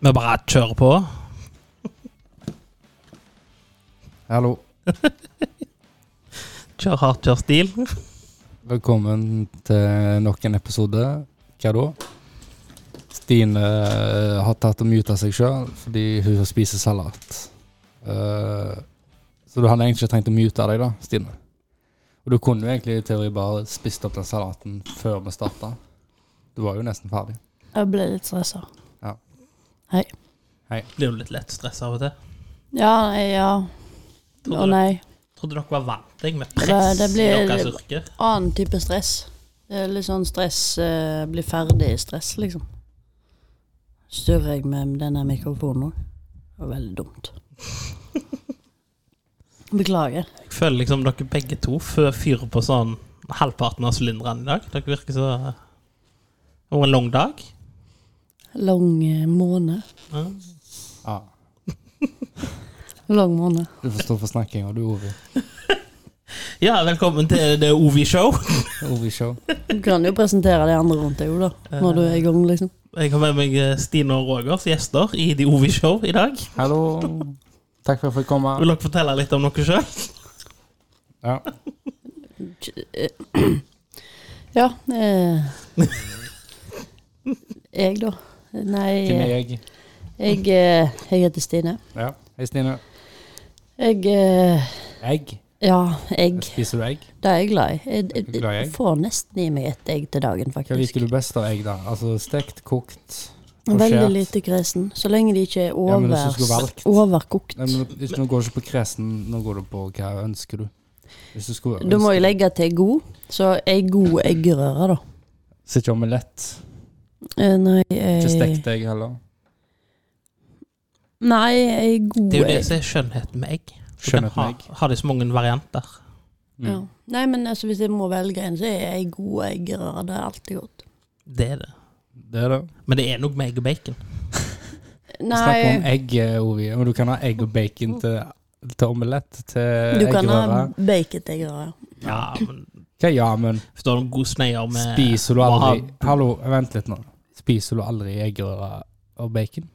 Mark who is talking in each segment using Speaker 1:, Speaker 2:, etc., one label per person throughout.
Speaker 1: Vi bare kjører på.
Speaker 2: Hallo.
Speaker 1: Kjør hardt, kjør stil.
Speaker 2: Velkommen til nok en episode. Hva da? Stine eh, har tatt og muta seg sjøl fordi hun spiser salat. Eh, så du hadde egentlig ikke trengt å mute deg, da, Stine. Og du kunne jo egentlig i teori bare spist opp den salaten før vi starta. Du var jo nesten ferdig.
Speaker 3: Jeg ble litt stressa.
Speaker 1: Blir du litt lett stressa av og til?
Speaker 3: Ja, nei, ja. Å
Speaker 1: Trodde,
Speaker 3: nei.
Speaker 1: dere- trodde dere var vant deg med
Speaker 3: Ja,
Speaker 1: press
Speaker 3: det blir-
Speaker 1: i deres yrke?
Speaker 3: Annen type stress. Det er litt sånn stress eh, Bli ferdig-stress, liksom. Styrrer jeg med denne mikrofonen nå? Det var veldig dumt. Beklager.
Speaker 1: Jeg føler liksom dere begge to fø- fyrer på sånn halvparten av sylinderne i dag. Dere virker så Det var en lang dag.
Speaker 3: Lang eh, måned.
Speaker 1: Ja.
Speaker 2: Ja,
Speaker 3: Lang måned.
Speaker 2: Du får stå for snakkinga, du, Ovi.
Speaker 1: Ja, velkommen til The Ovi Show.
Speaker 2: Ovi Show.
Speaker 3: Du kan jo presentere de andre rundt deg, jo, da. Når du er i gang, liksom.
Speaker 1: Jeg har med meg eh, Stine og Roger som gjester i The Ovi Show i dag.
Speaker 2: Hallo. Takk for at jeg fikk komme.
Speaker 1: Vil dere fortelle litt om dere sjøl?
Speaker 2: Ja.
Speaker 3: Ja. Eh. Jeg, da. Nei,
Speaker 2: Hvem er jeg?
Speaker 3: jeg, eh, jeg heter Stine.
Speaker 2: Ja. Hei, Stine.
Speaker 3: Jeg eh,
Speaker 2: Egg.
Speaker 3: Ja, egg.
Speaker 2: Spiser du egg?
Speaker 3: Det er jeg glad i. Jeg, jeg,
Speaker 2: Er du glad i egg?
Speaker 3: jeg får nesten i meg et egg til dagen,
Speaker 2: Hva
Speaker 3: faktisk.
Speaker 2: liker du best av egg, da? Altså stekt, kokt og
Speaker 3: Veldig
Speaker 2: skjært?
Speaker 3: lite kresen. Så lenge de ikke er
Speaker 2: Ja, men hvis
Speaker 3: overs,
Speaker 2: du skulle valgt.
Speaker 3: overkokt.
Speaker 2: Nei, men hvis Nå går du ikke på kresen, nå går du på hva ønsker du. Hvis du skulle
Speaker 3: Da må jeg legge til god. Så ei god eggerøre, da.
Speaker 2: Så ikke omelett.
Speaker 3: Eh, Nei,
Speaker 2: Ikke
Speaker 3: ei,
Speaker 2: stekt egg heller.
Speaker 3: nei, ei god
Speaker 1: Det er jo det
Speaker 3: egg.
Speaker 1: som er skjønnheten med egg. Du kan
Speaker 2: Skjønnhet
Speaker 1: ha,
Speaker 2: med egg.
Speaker 1: ha det i så mange varianter.
Speaker 2: Mm.
Speaker 3: Ja. Nei, men altså, hvis jeg må velge en, så er ei god eggerøre det er alltid godt.
Speaker 1: Det er det.
Speaker 2: Det er det.
Speaker 1: Men det er noe med egg og bacon.
Speaker 2: Vi snakker om
Speaker 3: Nei,
Speaker 2: egg, eh, Ovi. Men du kan ha egg og bacon til, til omelett, til
Speaker 3: du kan ha
Speaker 2: eggerøre.
Speaker 3: bacon-eggerøre.
Speaker 1: Ja, men
Speaker 2: Hva ja, men
Speaker 1: Hvis du har noen gode sneier med
Speaker 2: spiser du
Speaker 1: må ha-
Speaker 2: aldri Hallo, vent litt nå. Spiser du aldri eggerøre og bacon?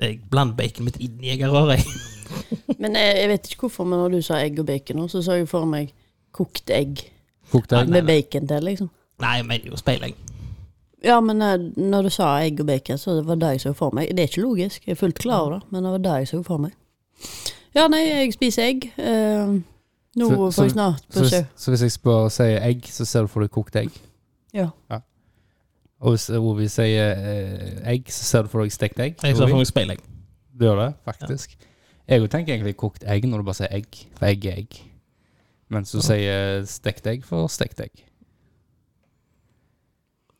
Speaker 1: Jeg blander baconet mitt inn i eggerøret. jeg.
Speaker 3: Men jeg, jeg vet ikke hvorfor, men når du sa egg og bacon, nå, så så jeg for meg kokt egg
Speaker 2: Kokt egg?
Speaker 3: med bacon til, liksom.
Speaker 1: Nei, jeg mener jo speiling.
Speaker 3: Ja, men eh, når du sa egg og bacon, så var det jeg så for meg. Det er ikke logisk, jeg er fullt klar over det, men det var det jeg så for meg. Ja, nei, jeg spiser egg. Eh, nå
Speaker 2: Så- så-
Speaker 3: får jeg snart
Speaker 2: Så hvis,
Speaker 3: besøk.
Speaker 2: så hvis jeg spør sier egg, så ser du for deg kokt egg?
Speaker 3: Ja.
Speaker 2: Og hvis Ovi sier eh, egg, så ser du for deg stekt egg?
Speaker 1: Jeg ser
Speaker 2: Ovi?
Speaker 1: for meg speiling.
Speaker 2: Du gjør det, faktisk. Jeg òg tenker egentlig kokt egg når du bare sier egg, for egg er egg. Mens du sier stekt egg for stekt egg.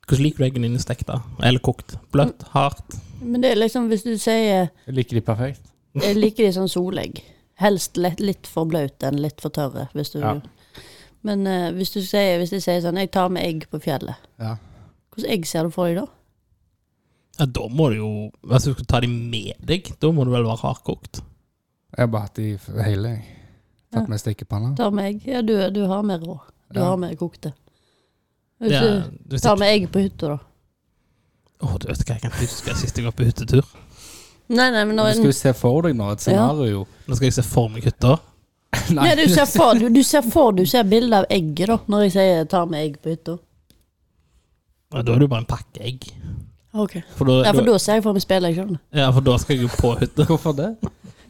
Speaker 1: Hvordan liker du eggen dine stekt? da? Eller kokt? Bløtt?
Speaker 3: Mm.
Speaker 1: Hardt?
Speaker 3: Men det er liksom, hvis du sier
Speaker 2: Jeg Liker de perfekt?
Speaker 3: Jeg liker de sånn solegg. Helst lett, litt for blaute enn litt for tørre, hvis du
Speaker 2: Ja.
Speaker 3: Men eh, hvis du sier, hvis jeg sier sånn Jeg tar med egg på fjellet.
Speaker 2: Ja.
Speaker 3: Hvordan egg ser du for deg da?
Speaker 1: Ja, da må du jo altså, Hvis du skal ta de med deg, da må du vel være hardkokt.
Speaker 2: Jeg har bare hatt de f- hele, jeg. Tatt
Speaker 3: Ja.
Speaker 2: med stekepanna.
Speaker 3: Tar med egg? Ja, du, du har med rå. Du
Speaker 2: Ja.
Speaker 3: har med kokte. Hvis
Speaker 1: Ja,
Speaker 3: du
Speaker 1: hvis
Speaker 3: tar
Speaker 1: ikke-
Speaker 3: med egg på hytta, da.
Speaker 1: Å, du vet hva jeg kan huske sist jeg var på hyttetur?
Speaker 3: Nei, nei, men
Speaker 2: Du
Speaker 3: når
Speaker 2: skal jo se for deg nå et
Speaker 3: Ja.
Speaker 2: scenario.
Speaker 1: Nå skal jeg se for meg hytta.
Speaker 3: Nei, du ser for du, du ser for du ser bilde av egget, da, når jeg sier 'ta med egg på hytta'.
Speaker 1: Ja, Da er det jo bare en pakke egg.
Speaker 3: Okay.
Speaker 1: For da,
Speaker 3: Ja, for
Speaker 1: da,
Speaker 3: da ser jeg for meg spillet, jeg skjønner.
Speaker 1: ja, for da skal jeg jo på hytta.
Speaker 2: Hvorfor det?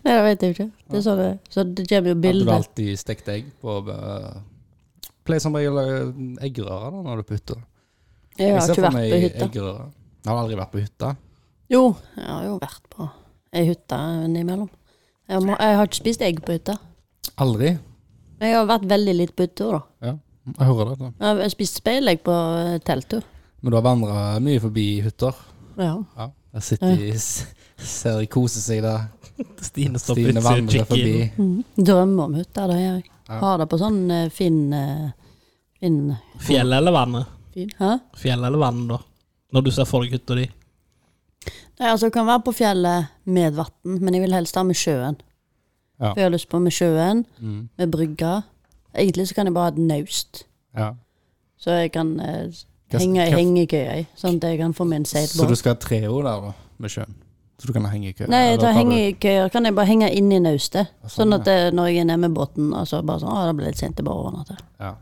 Speaker 3: Nei, det vet jeg ikke. Det er sånn, det- så det kommer jo
Speaker 2: Hadde du
Speaker 3: bilder.
Speaker 2: alltid stekt egg på eh, Pleier som regel eh, eggerøre da, når du er på hytta.
Speaker 3: Jeg har
Speaker 2: ser
Speaker 3: ikke
Speaker 2: for
Speaker 3: vært
Speaker 2: meg
Speaker 3: på hytta.
Speaker 2: eggerøre. Jeg har aldri vært på hytta.
Speaker 3: Jo, jeg har jo vært på ei hytte innimellom. Jeg, må, jeg har ikke spist egg på hytta.
Speaker 2: Aldri?
Speaker 3: Men jeg har vært veldig lite på hytta, da.
Speaker 2: Jeg hører det. da.
Speaker 3: Jeg har spist speilegg på eh, telttur.
Speaker 2: Men du har vandra mye forbi hytter.
Speaker 3: Ja.
Speaker 2: Ja. Der sitter de, s- ser de koser seg der.
Speaker 1: Stine står på
Speaker 2: Stine
Speaker 1: utsida og
Speaker 2: vandrer
Speaker 1: kikker inn.
Speaker 2: forbi.
Speaker 3: Mm. Drømmer om hytta, det gjør jeg.
Speaker 2: Ja.
Speaker 3: Har det på sånn eh, Finn eh, Finn
Speaker 1: Fjellet eller vannet?
Speaker 3: Finn? Hæ?
Speaker 1: Fjellet eller vannet, da? Når du ser for deg hytta di.
Speaker 3: Nei, altså, jeg kan være på fjellet med vann, men jeg vil helst ha med sjøen.
Speaker 2: Ja.
Speaker 3: For jeg har lyst på med sjøen,
Speaker 2: Mm.
Speaker 3: med brygga. Egentlig så kan jeg bare ha det naust,
Speaker 2: Ja.
Speaker 3: så jeg kan eh,
Speaker 2: Hva-
Speaker 3: henge i
Speaker 2: hva-
Speaker 3: hengekøya i, sånn at jeg kan få min
Speaker 2: Så du
Speaker 3: skateboard.
Speaker 2: skal ha tre år der, da, med sjøen? Så du kan henge i kø?
Speaker 3: Nei,
Speaker 2: eller
Speaker 3: da
Speaker 2: tar
Speaker 3: henger jeg ikke Kan jeg bare henge inn i naustet?
Speaker 2: Sånn,
Speaker 3: Sånn at eh, når jeg er nede med båten, og så bare sånn Å, det ble litt sent, jeg bare overnatter.
Speaker 2: du- Ja.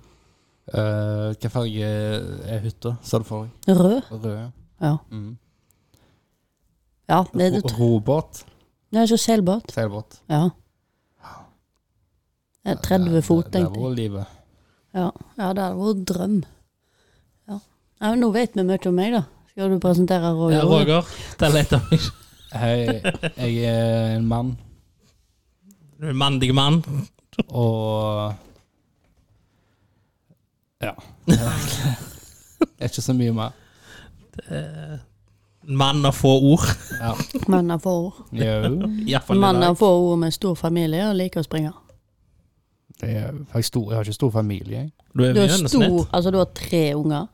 Speaker 2: Eh, Hvilken farge er hytta, ser du for deg?
Speaker 3: Rød?
Speaker 2: Rød?
Speaker 3: Ja.
Speaker 2: Mm.
Speaker 3: ja det,
Speaker 2: Ro- Robåt?
Speaker 3: det er så seilbåt.
Speaker 2: Seilbåt?
Speaker 3: Ja. Det er 30 fot,
Speaker 2: Det- det-
Speaker 3: tenkte jeg.
Speaker 2: Det var livet.
Speaker 3: Ja, ja det hadde vært drøm. Ja. Nei, men nå vet vi mye om meg, da. Skal du presentere Roger?
Speaker 1: Ja, Roger, tell litt om deg.
Speaker 2: Hei, jeg er en mann,
Speaker 1: Du er en mandig mann.
Speaker 2: og Ja. Det er ikke så mye mer.
Speaker 1: Eh, En mann av få ord.
Speaker 2: Ja.
Speaker 3: Mann av få ord.
Speaker 1: I
Speaker 2: Jo.
Speaker 1: hvert fall i
Speaker 3: Mann
Speaker 1: dag.
Speaker 3: av få ord med stor familie og liker å springe.
Speaker 2: Det er, faktisk stor, jeg har ikke stor familie, jeg.
Speaker 1: Du er
Speaker 3: Du
Speaker 1: mye
Speaker 3: har
Speaker 1: gjennomsnitt.
Speaker 3: stor Altså, du har tre unger.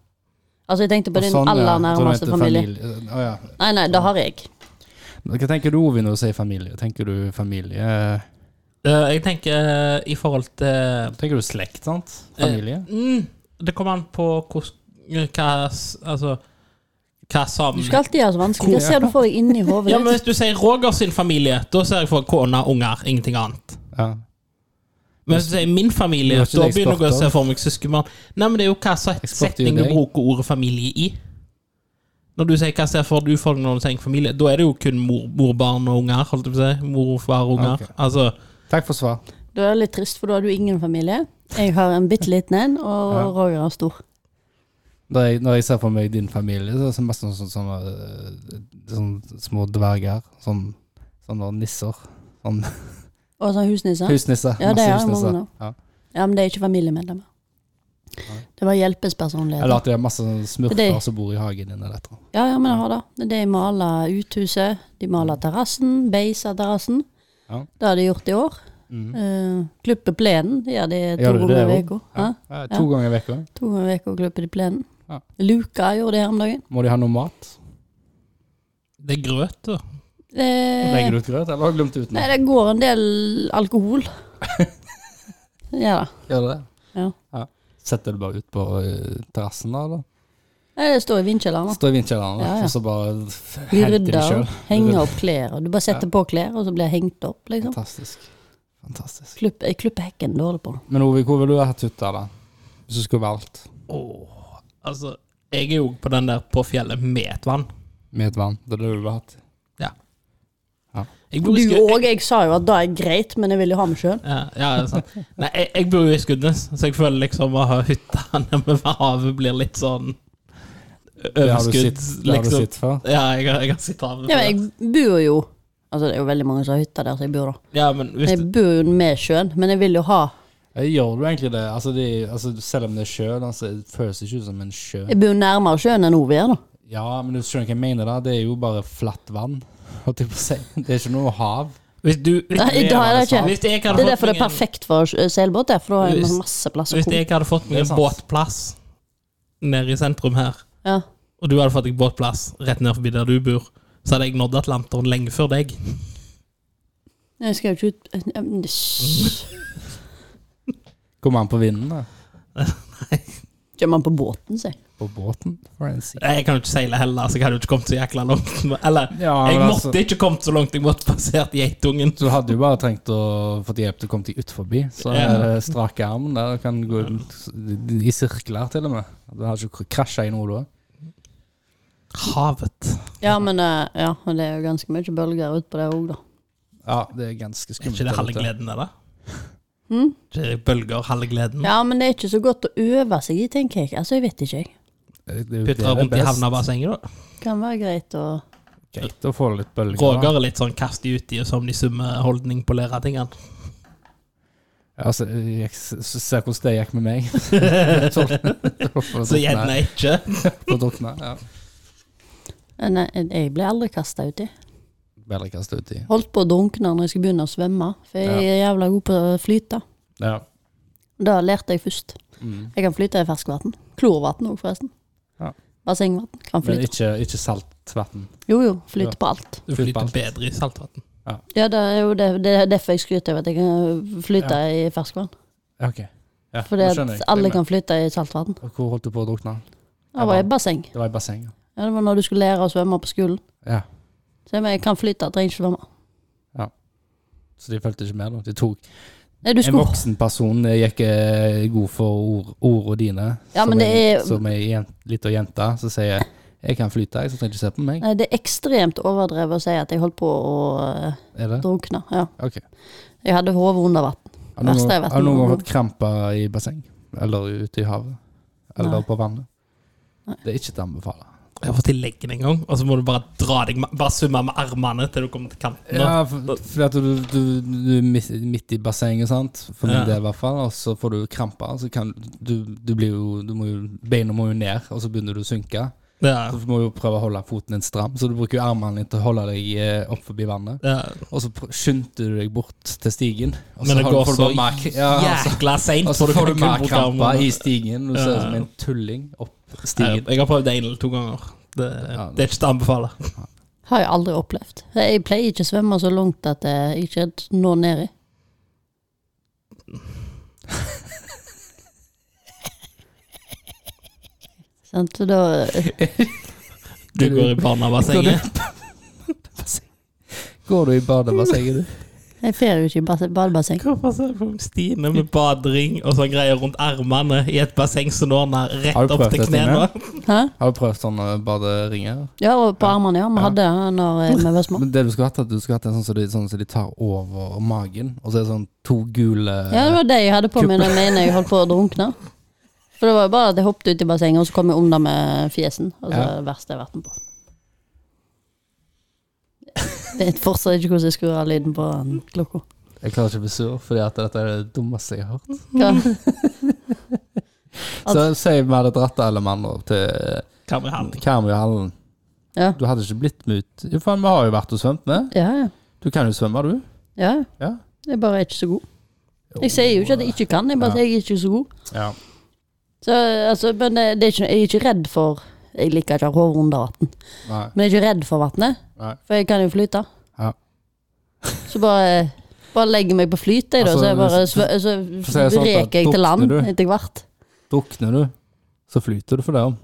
Speaker 3: Altså, jeg tenkte på din
Speaker 2: Sånn, ja.
Speaker 3: aller
Speaker 2: Så det
Speaker 3: nærmeste
Speaker 2: heter
Speaker 3: familie.
Speaker 2: familie. Å, ja.
Speaker 3: Nei, nei, det har jeg.
Speaker 2: Men Hva tenker du Ovi når du sier familie? Tenker du familie
Speaker 1: Eh, Jeg tenker eh, i forhold til
Speaker 2: Tenker du slekt, sant? Familie?
Speaker 1: mm, Det kommer an på hvordan eh, Hva s- Altså Hva
Speaker 3: Du
Speaker 1: sammen
Speaker 3: skal alltid gjøre så vanskelig. Hva ser du for deg inni hodet?
Speaker 1: Ja, men hvis du sier Roger sin familie, da ser jeg for kone, unger, ingenting annet.
Speaker 2: Ja.
Speaker 1: Men hvis du sier min familie,
Speaker 2: Men er ikke
Speaker 1: da
Speaker 2: det
Speaker 1: begynner jeg å
Speaker 2: eksport,
Speaker 1: se
Speaker 2: da?
Speaker 1: for meg søskenbarn. Nei, men det er jo hva set-
Speaker 2: Eksport er jo
Speaker 1: setning du
Speaker 2: deg.
Speaker 1: bruker ordet familie i. Når du sier hva ser for du for deg når du sier familie, da er det jo kun mor, mor barn og unger, holdt jeg på å si. Mor, far, unger.
Speaker 2: Ok.
Speaker 1: Altså,
Speaker 2: Takk for svar.
Speaker 3: Da er det litt trist, for da har du ingen familie. Jeg har en bitte liten en, og
Speaker 2: Ja.
Speaker 3: Roger har stor.
Speaker 2: Når jeg, når jeg ser for meg din familie, så er det mest sånn, sånn, sånn, øh, sånn små dverger. Sånn, sånne nisser. Sånn,
Speaker 3: Og så har husnisser.
Speaker 2: Husnisser.
Speaker 3: Ja, det
Speaker 2: masse
Speaker 3: er jeg
Speaker 2: husnisser.
Speaker 3: mange nå.
Speaker 2: Ja.
Speaker 3: Ja, men det er ikke familiemedlemmer. Det var
Speaker 2: Eller
Speaker 3: hjelpespersonligheter.
Speaker 2: at det er masse sånn
Speaker 3: Det er
Speaker 2: smurfer
Speaker 3: de.
Speaker 2: som bor i hagen din. Eller et eller annet.
Speaker 3: Ja, ja, men jeg har det. Det er det jeg maler uthuset. De maler terrassen, beiser terrassen.
Speaker 2: Ja.
Speaker 3: Det har de gjort i år.
Speaker 2: Mhm.
Speaker 3: Eh, klipper plenen. Ja, det er to
Speaker 2: Gjør du det
Speaker 3: ganger i
Speaker 2: også?
Speaker 3: uka.
Speaker 2: Ja.
Speaker 3: Hæ?
Speaker 2: Ja, Eh, to ganger i uka.
Speaker 3: To ganger i uka klipper de plenen.
Speaker 2: Ja.
Speaker 3: Luka gjorde det her om dagen.
Speaker 2: Må de ha noe mat?
Speaker 1: det er grøt, da.
Speaker 3: Eh,
Speaker 2: Legger du ut grøt, eller har du glemt ut
Speaker 3: nei,
Speaker 2: noe?
Speaker 3: det går en del alkohol. ja da.
Speaker 2: Gjør det?
Speaker 3: Ja.
Speaker 2: Setter du bare ut på øh, terrassen da, eller?
Speaker 3: Nei, det står i vindkjelleren. da.
Speaker 2: Står i vindkjelleren,
Speaker 3: Ja, ja.
Speaker 2: og så bare f-
Speaker 3: Vi
Speaker 2: henter de
Speaker 3: rydder
Speaker 2: sjøl.
Speaker 3: og henger opp klær. og Du bare setter på klær, og så blir det hengt opp. liksom.
Speaker 2: Fantastisk. Fantastisk.
Speaker 3: Klipp, jeg klipper hekken dårlig på.
Speaker 2: Men Ovi, hvor ville du hatt hytta, da? Hvis du skulle valgt
Speaker 1: Åh, altså, jeg er jo på den der på fjellet med et vann.
Speaker 2: med et vann? Det ville du ville hatt.
Speaker 1: Jeg
Speaker 3: Du
Speaker 1: bor i Skud-
Speaker 3: òg. Jeg sa jo at det er greit, men jeg vil jo ha meg sjøl.
Speaker 1: Ja, ja, det er sant. Nei, jeg, jeg bor jo i Skudenes, så jeg føler liksom å ha hytta nede ved havet blir litt sånn
Speaker 2: Det har du
Speaker 1: overskudd,
Speaker 2: sett det har du
Speaker 1: liksom.
Speaker 2: sett før.
Speaker 1: Ja, jeg, har- jeg har sett havet
Speaker 3: Ja, men
Speaker 1: før.
Speaker 3: jeg bor jo Altså, det er jo veldig mange som har hytte der som jeg bor, da.
Speaker 1: Ja, men hvis
Speaker 3: Jeg
Speaker 1: du,
Speaker 3: bor jo med sjøen, men jeg vil jo ha
Speaker 2: Ja, Eh, Gjør du egentlig det? Altså, de, altså, selv om det er sjø, altså, det føles ikke ut som en sjø.
Speaker 3: Jeg bor jo nærmere sjøen enn Ovi er, da.
Speaker 2: Ja, men du skjønner hva jeg mener, da? Det er jo bare flatt vann. holdt jeg på å si. Det er ikke noe hav.
Speaker 1: hvis du hvis,
Speaker 3: Nei, da er det ikke.
Speaker 1: hvis jeg hadde fått
Speaker 3: Det er derfor det
Speaker 1: meg
Speaker 3: er
Speaker 1: en,
Speaker 3: perfekt for eh, seilbåt, der, for da har
Speaker 1: Hvis-
Speaker 3: jeg masse plass å
Speaker 1: hvis
Speaker 3: komme.
Speaker 1: jeg hadde fått meg
Speaker 2: Det er
Speaker 1: en
Speaker 2: sant.
Speaker 1: båtplass nede i sentrum her,
Speaker 3: Ja.
Speaker 1: og du hadde fått deg båtplass rett ned forbi der du bor, så hadde jeg nådd Atlanteren lenge før deg.
Speaker 3: Jeg skal jo ikke ut eh, eh, men, hysj.
Speaker 2: Kommer an på vinden, da.
Speaker 3: Kommer man på båten, sier jeg.
Speaker 2: På båten. Forensic.
Speaker 1: Jeg kan jo ikke seile heller, så jeg hadde jo ikke kommet så jækla langt. Eller
Speaker 2: Ja,
Speaker 1: jeg
Speaker 2: men altså,
Speaker 1: måtte ikke kommet så langt, jeg måtte passert geitungen.
Speaker 2: du hadde jo bare trengt å få hjelp til å komme deg ut forbi. Så
Speaker 1: Ja.
Speaker 2: eh, strake armen der kan gå ut i sirkler, til og med. Du har ikke krasja i noe da.
Speaker 1: Havet.
Speaker 3: Ja, men eh, ja, og det er jo ganske mye bølger ute på det òg, da.
Speaker 2: Ja, det er ganske
Speaker 1: Er
Speaker 2: skummelt.
Speaker 1: ikke det halve
Speaker 2: dette.
Speaker 1: gleden, eller?
Speaker 3: Mm?
Speaker 1: Ikke det bølger, halve gleden?
Speaker 3: Ja, men det er ikke så godt å øve seg i, tenker jeg. Altså, jeg vet ikke, jeg.
Speaker 2: Det er jo
Speaker 1: Putter
Speaker 2: det
Speaker 1: rundt i
Speaker 2: best.
Speaker 1: havnebassenget, da.
Speaker 3: Kan være greit å
Speaker 2: Greit å få litt bølger. da.
Speaker 1: Roger er litt sånn kast i uti og sovn i summe-holdning på Leratingene.
Speaker 2: Ja, altså, jeg s- s- ser hvordan det gikk med meg.
Speaker 1: Så gjerne ikke.
Speaker 2: På drukne, ja.
Speaker 3: Eh, Nei, jeg ble aldri kasta uti.
Speaker 2: Bedre kaste uti.
Speaker 3: Holdt på å drunkne når jeg skulle begynne å svømme, for jeg er jævla god på å flyte.
Speaker 2: Ja.
Speaker 3: Da lærte jeg først.
Speaker 2: Mm.
Speaker 3: Jeg kan flyte i ferskvann. Klorvann òg, forresten.
Speaker 2: Ja.
Speaker 3: Bassengvann kan
Speaker 2: Men
Speaker 3: flyte.
Speaker 2: ikke, ikke saltvann.
Speaker 3: Jo, jo, flyte
Speaker 2: Ja.
Speaker 3: på alt.
Speaker 1: Du
Speaker 2: Flyt på
Speaker 1: flyter
Speaker 2: alt.
Speaker 1: bedre i saltvann.
Speaker 3: Ja, det er jo det, det er derfor jeg skryter av at jeg kan flyte i ferskvann.
Speaker 2: Ja, OK. Ja,
Speaker 3: Fordi
Speaker 2: nå skjønner
Speaker 3: at
Speaker 2: jeg.
Speaker 3: alle kan flyte i saltvann.
Speaker 2: Og Hvor holdt du på å drukne?
Speaker 3: Det var i basseng.
Speaker 2: Det var i bassenget.
Speaker 3: Ja, det var når du skulle lære å svømme på skolen.
Speaker 2: Ja.
Speaker 3: Så jeg kan flyte, jeg trenger ikke være med.
Speaker 2: Så de fulgte ikke med. da. De tok
Speaker 3: Nei, du
Speaker 2: En
Speaker 3: skulle
Speaker 2: voksen person gikk eh, god for ord, ordene dine,
Speaker 3: Ja, men
Speaker 2: som, ei-
Speaker 3: det er-
Speaker 2: som ei jen- lita jente, som sier 'jeg kan flyte, jeg, så trenger du ikke se på meg'.
Speaker 3: Nei, det er ekstremt overdrevet å si at jeg holdt på å eh,
Speaker 2: Er det?
Speaker 3: drukne. Ja.
Speaker 2: Ok.
Speaker 3: Jeg hadde hodet under vann.
Speaker 2: Har noen,
Speaker 3: Verste jeg vet
Speaker 2: har noen
Speaker 3: noe
Speaker 2: gang
Speaker 3: om.
Speaker 2: fått kramper i basseng? Eller ute i havet? Eller
Speaker 3: Nei.
Speaker 2: på vannet?
Speaker 3: Nei.
Speaker 2: Det er ikke til å anbefale.
Speaker 1: Jeg har fått i leggen en gang, og så må du bare dra deg ma- Bare svømme med armene til du kommer til kanten. da.
Speaker 2: Ja, for- fordi at du, du, du er mis- midt i bassenget, sant? For min
Speaker 1: Ja.
Speaker 2: del i hvert fall. Og så får du kramper. Så kan du, du blir jo, du må jo Beina må jo ned, og så begynner du å synke.
Speaker 1: Det
Speaker 2: Så
Speaker 1: er,
Speaker 2: du må jo prøve å holde foten din stram, så du bruker jo armene dine til å holde deg eh, opp forbi vannet.
Speaker 1: det er.
Speaker 2: Og så pr- skynder du deg bort til stigen, og så
Speaker 1: Men det
Speaker 2: har du-
Speaker 1: går
Speaker 2: får du
Speaker 1: så
Speaker 2: bare mer k- ja, og så-
Speaker 1: Jækla seint!
Speaker 2: Og så får du mer kramper i stigen. Du ser
Speaker 1: Ja.
Speaker 2: ut som en tulling opp stigen.
Speaker 1: Jeg har prøvd det én eller to ganger. Det,
Speaker 2: Ja, det-
Speaker 1: det er ikke til å anbefale.
Speaker 3: Har jeg aldri opplevd. Jeg pleier ikke å svømme så langt at jeg ikke når nedi. Sant, så da
Speaker 1: Du går i barnebassenget.
Speaker 2: Går du i badebassenget, du?
Speaker 3: Jeg fer jo ikke i bas- badebasseng.
Speaker 1: Hvorfor ser jeg på Stine med badering og sånn greier rundt armene i et basseng som når ned
Speaker 2: Har
Speaker 1: rett
Speaker 2: du
Speaker 1: opp
Speaker 2: prøvd
Speaker 1: til
Speaker 2: det,
Speaker 1: knærne?
Speaker 3: Hæ?
Speaker 2: Har du prøvd sånne baderinger?
Speaker 3: Ja, og på armene, ja. Vi
Speaker 2: Ja.
Speaker 3: hadde det når eh, vi var små.
Speaker 2: Men det du skulle hatt, er at du skulle hatt en sånn som de, sånn som de tar over magen, og så er det sånn to gule
Speaker 3: Ja, det var det jeg hadde på meg når jeg mener jeg holdt på å drunkne. For det var jo bare at jeg hoppet ut i bassenget, og så kom jeg under med fjesen. Og så
Speaker 2: Ja.
Speaker 3: er det verste jeg har vært med på. Jeg vet fortsatt ikke hvordan jeg skrur av lyden på den klokka.
Speaker 2: Jeg klarer ikke å bli sur, fordi at dette er det dummeste jeg har hørt.
Speaker 3: Ja. Mm.
Speaker 2: Så si vi hadde dratt alle mann opp til
Speaker 1: Kamerahandling.
Speaker 2: Karmøyhallen.
Speaker 3: Ja.
Speaker 2: Du hadde ikke blitt med ut Jo, faen, vi har jo vært og svømt med.
Speaker 3: Ja, ja.
Speaker 2: Du kan jo svømme, du.
Speaker 3: ja.
Speaker 2: Ja.
Speaker 3: Jeg bare er ikke så god. Jeg sier jo ikke at jeg ikke kan, jeg bare
Speaker 2: Ja.
Speaker 3: sier jeg er ikke så god.
Speaker 2: Ja.
Speaker 3: Så, altså, men eh, det er ikke, jeg er ikke redd for Jeg liker ikke å ha hodet under vann,
Speaker 2: Nei.
Speaker 3: men jeg er ikke redd for vannet,
Speaker 2: Nei.
Speaker 3: for jeg kan jo flyte.
Speaker 2: Ja.
Speaker 3: Så bare, bare legger meg på flyt, jeg, da,
Speaker 2: Altså,
Speaker 3: så jeg bare
Speaker 2: hvis-
Speaker 3: svø, så
Speaker 2: for å si det sånn, da,
Speaker 3: reker jeg til land
Speaker 2: drukner du?
Speaker 3: etter hvert.
Speaker 2: Drukner du, så flyter du for det om.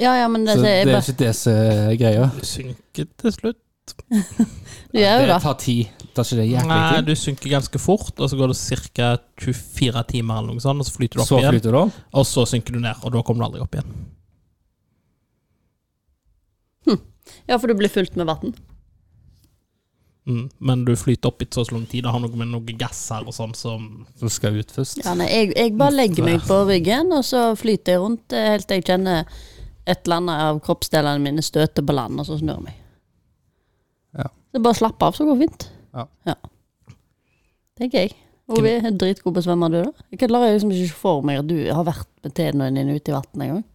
Speaker 3: Ja, ja, men det,
Speaker 2: Så
Speaker 3: så
Speaker 2: det
Speaker 3: jeg
Speaker 2: er
Speaker 3: bare,
Speaker 2: ikke det som er greia.
Speaker 1: Du synker til slutt.
Speaker 3: du gjør jo
Speaker 2: Det
Speaker 3: det.
Speaker 2: tar tid. Det tar ikke det jæklig
Speaker 1: Nei,
Speaker 2: tid.
Speaker 1: du synker ganske fort, og så går det ca. 24 timer, eller noe sånt, og så flyter du opp
Speaker 2: Så
Speaker 1: igjen.
Speaker 2: flyter du om.
Speaker 1: Og så synker du ned, og da kommer du aldri opp igjen.
Speaker 3: Ja, for du blir fullt med vann.
Speaker 1: Mm. Men du flyter opp etter så lang tid. Det har noe med noen gasser og sånn som
Speaker 2: Så skal jeg ut først.
Speaker 3: Ja, nei, jeg, jeg bare legger meg på ryggen, og så flyter jeg rundt eh, helt til jeg kjenner et eller annet av kroppsdelene mine støter på land, og så snur jeg meg.
Speaker 2: Ja.
Speaker 3: Så bare slapp av, så går det fint.
Speaker 2: Ja.
Speaker 3: Tenker jeg. Ovi, er dritgod på å svømme, du, da? Jeg klarer liksom ikke se for meg at du har vært med tennene dine ute i vannet en gang.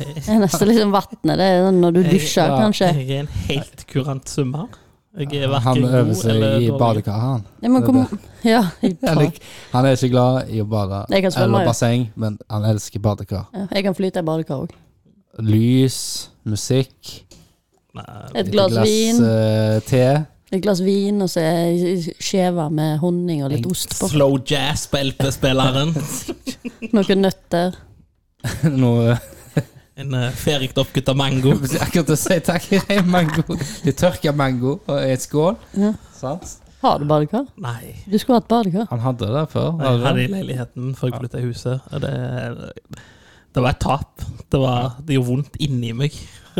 Speaker 3: Det er nesten liksom vannet, det er sånn når du dusjer,
Speaker 2: Ja.
Speaker 3: kanskje.
Speaker 1: Jeg er en helt kurant svømmer. Jeg er
Speaker 2: Han
Speaker 1: verken
Speaker 2: øver
Speaker 1: god
Speaker 2: seg
Speaker 1: eller
Speaker 2: i
Speaker 1: dårlig.
Speaker 2: badekar, han.
Speaker 3: Nei, men kom, ja, jeg,
Speaker 2: Han er, han er ikke glad i å bade
Speaker 3: Jeg kan svømme,
Speaker 2: eller
Speaker 3: ja.
Speaker 2: basseng, men han elsker badekar.
Speaker 3: ja, jeg kan flyte i badekar òg.
Speaker 2: Lys, musikk,
Speaker 1: Nei,
Speaker 3: Et glass vin.
Speaker 2: eh, te.
Speaker 3: Et glass vin, og så skjeva med honning og litt ost på.
Speaker 1: Slow jazz på LP-spilleren.
Speaker 3: Noen nøtter.
Speaker 2: Noe
Speaker 1: En eh, ferdig oppgutta mango.
Speaker 2: Jeg Akkurat å si takk. En Mango. Litt tørka mango og en skål.
Speaker 3: Ja.
Speaker 2: Sant?
Speaker 3: Har du badekar?
Speaker 1: Nei.
Speaker 3: Du skulle hatt badekar.
Speaker 2: Han hadde det før.
Speaker 1: Jeg
Speaker 2: hadde
Speaker 1: hadde
Speaker 2: han?
Speaker 1: i leiligheten før jeg flytta i huset. Og det, det var et tap. Det, var, det gjorde vondt inni meg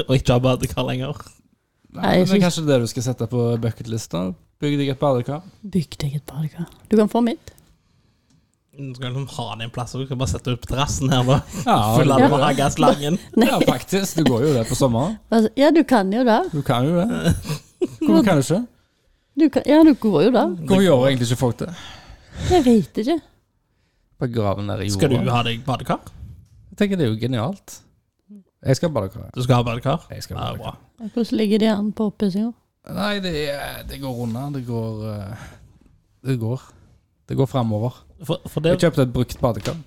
Speaker 1: å ikke ha badekar lenger.
Speaker 2: Nei, men
Speaker 3: jeg
Speaker 2: det er
Speaker 3: synes-
Speaker 2: kanskje det du skal sette på bucketlista? Bygg deg et badekar.
Speaker 3: Bygg deg et badekar. Du kan få mitt.
Speaker 1: Du skal liksom ha det en plass, og du kan bare sette det på terrassen her nå.
Speaker 2: Ja,
Speaker 1: Full
Speaker 2: det-
Speaker 1: av magaslangen.
Speaker 2: ja, faktisk. Du går jo det på sommeren.
Speaker 3: Altså, ja, du kan jo det.
Speaker 2: Du kan jo det. Hvorfor kan du ikke?
Speaker 3: Du kan, ja, du går jo det.
Speaker 2: Hvorfor gjør egentlig ikke folk det?
Speaker 3: Jeg vet ikke.
Speaker 2: Bare graven ned i jorda.
Speaker 1: Skal du ha deg badekar?
Speaker 2: Jeg tenker det er jo genialt. Jeg skal bare klare
Speaker 1: Du skal ha badekar? Ah,
Speaker 2: Jeg skal
Speaker 1: Ja,
Speaker 2: bare
Speaker 1: bra.
Speaker 3: Hvordan ligger det an på oppussinga?
Speaker 2: Nei, det, er- det går unna. Det går eh, Det går. Det går framover.
Speaker 1: For, for,
Speaker 2: Jeg
Speaker 1: det,
Speaker 2: kjøpte et brukt badekar.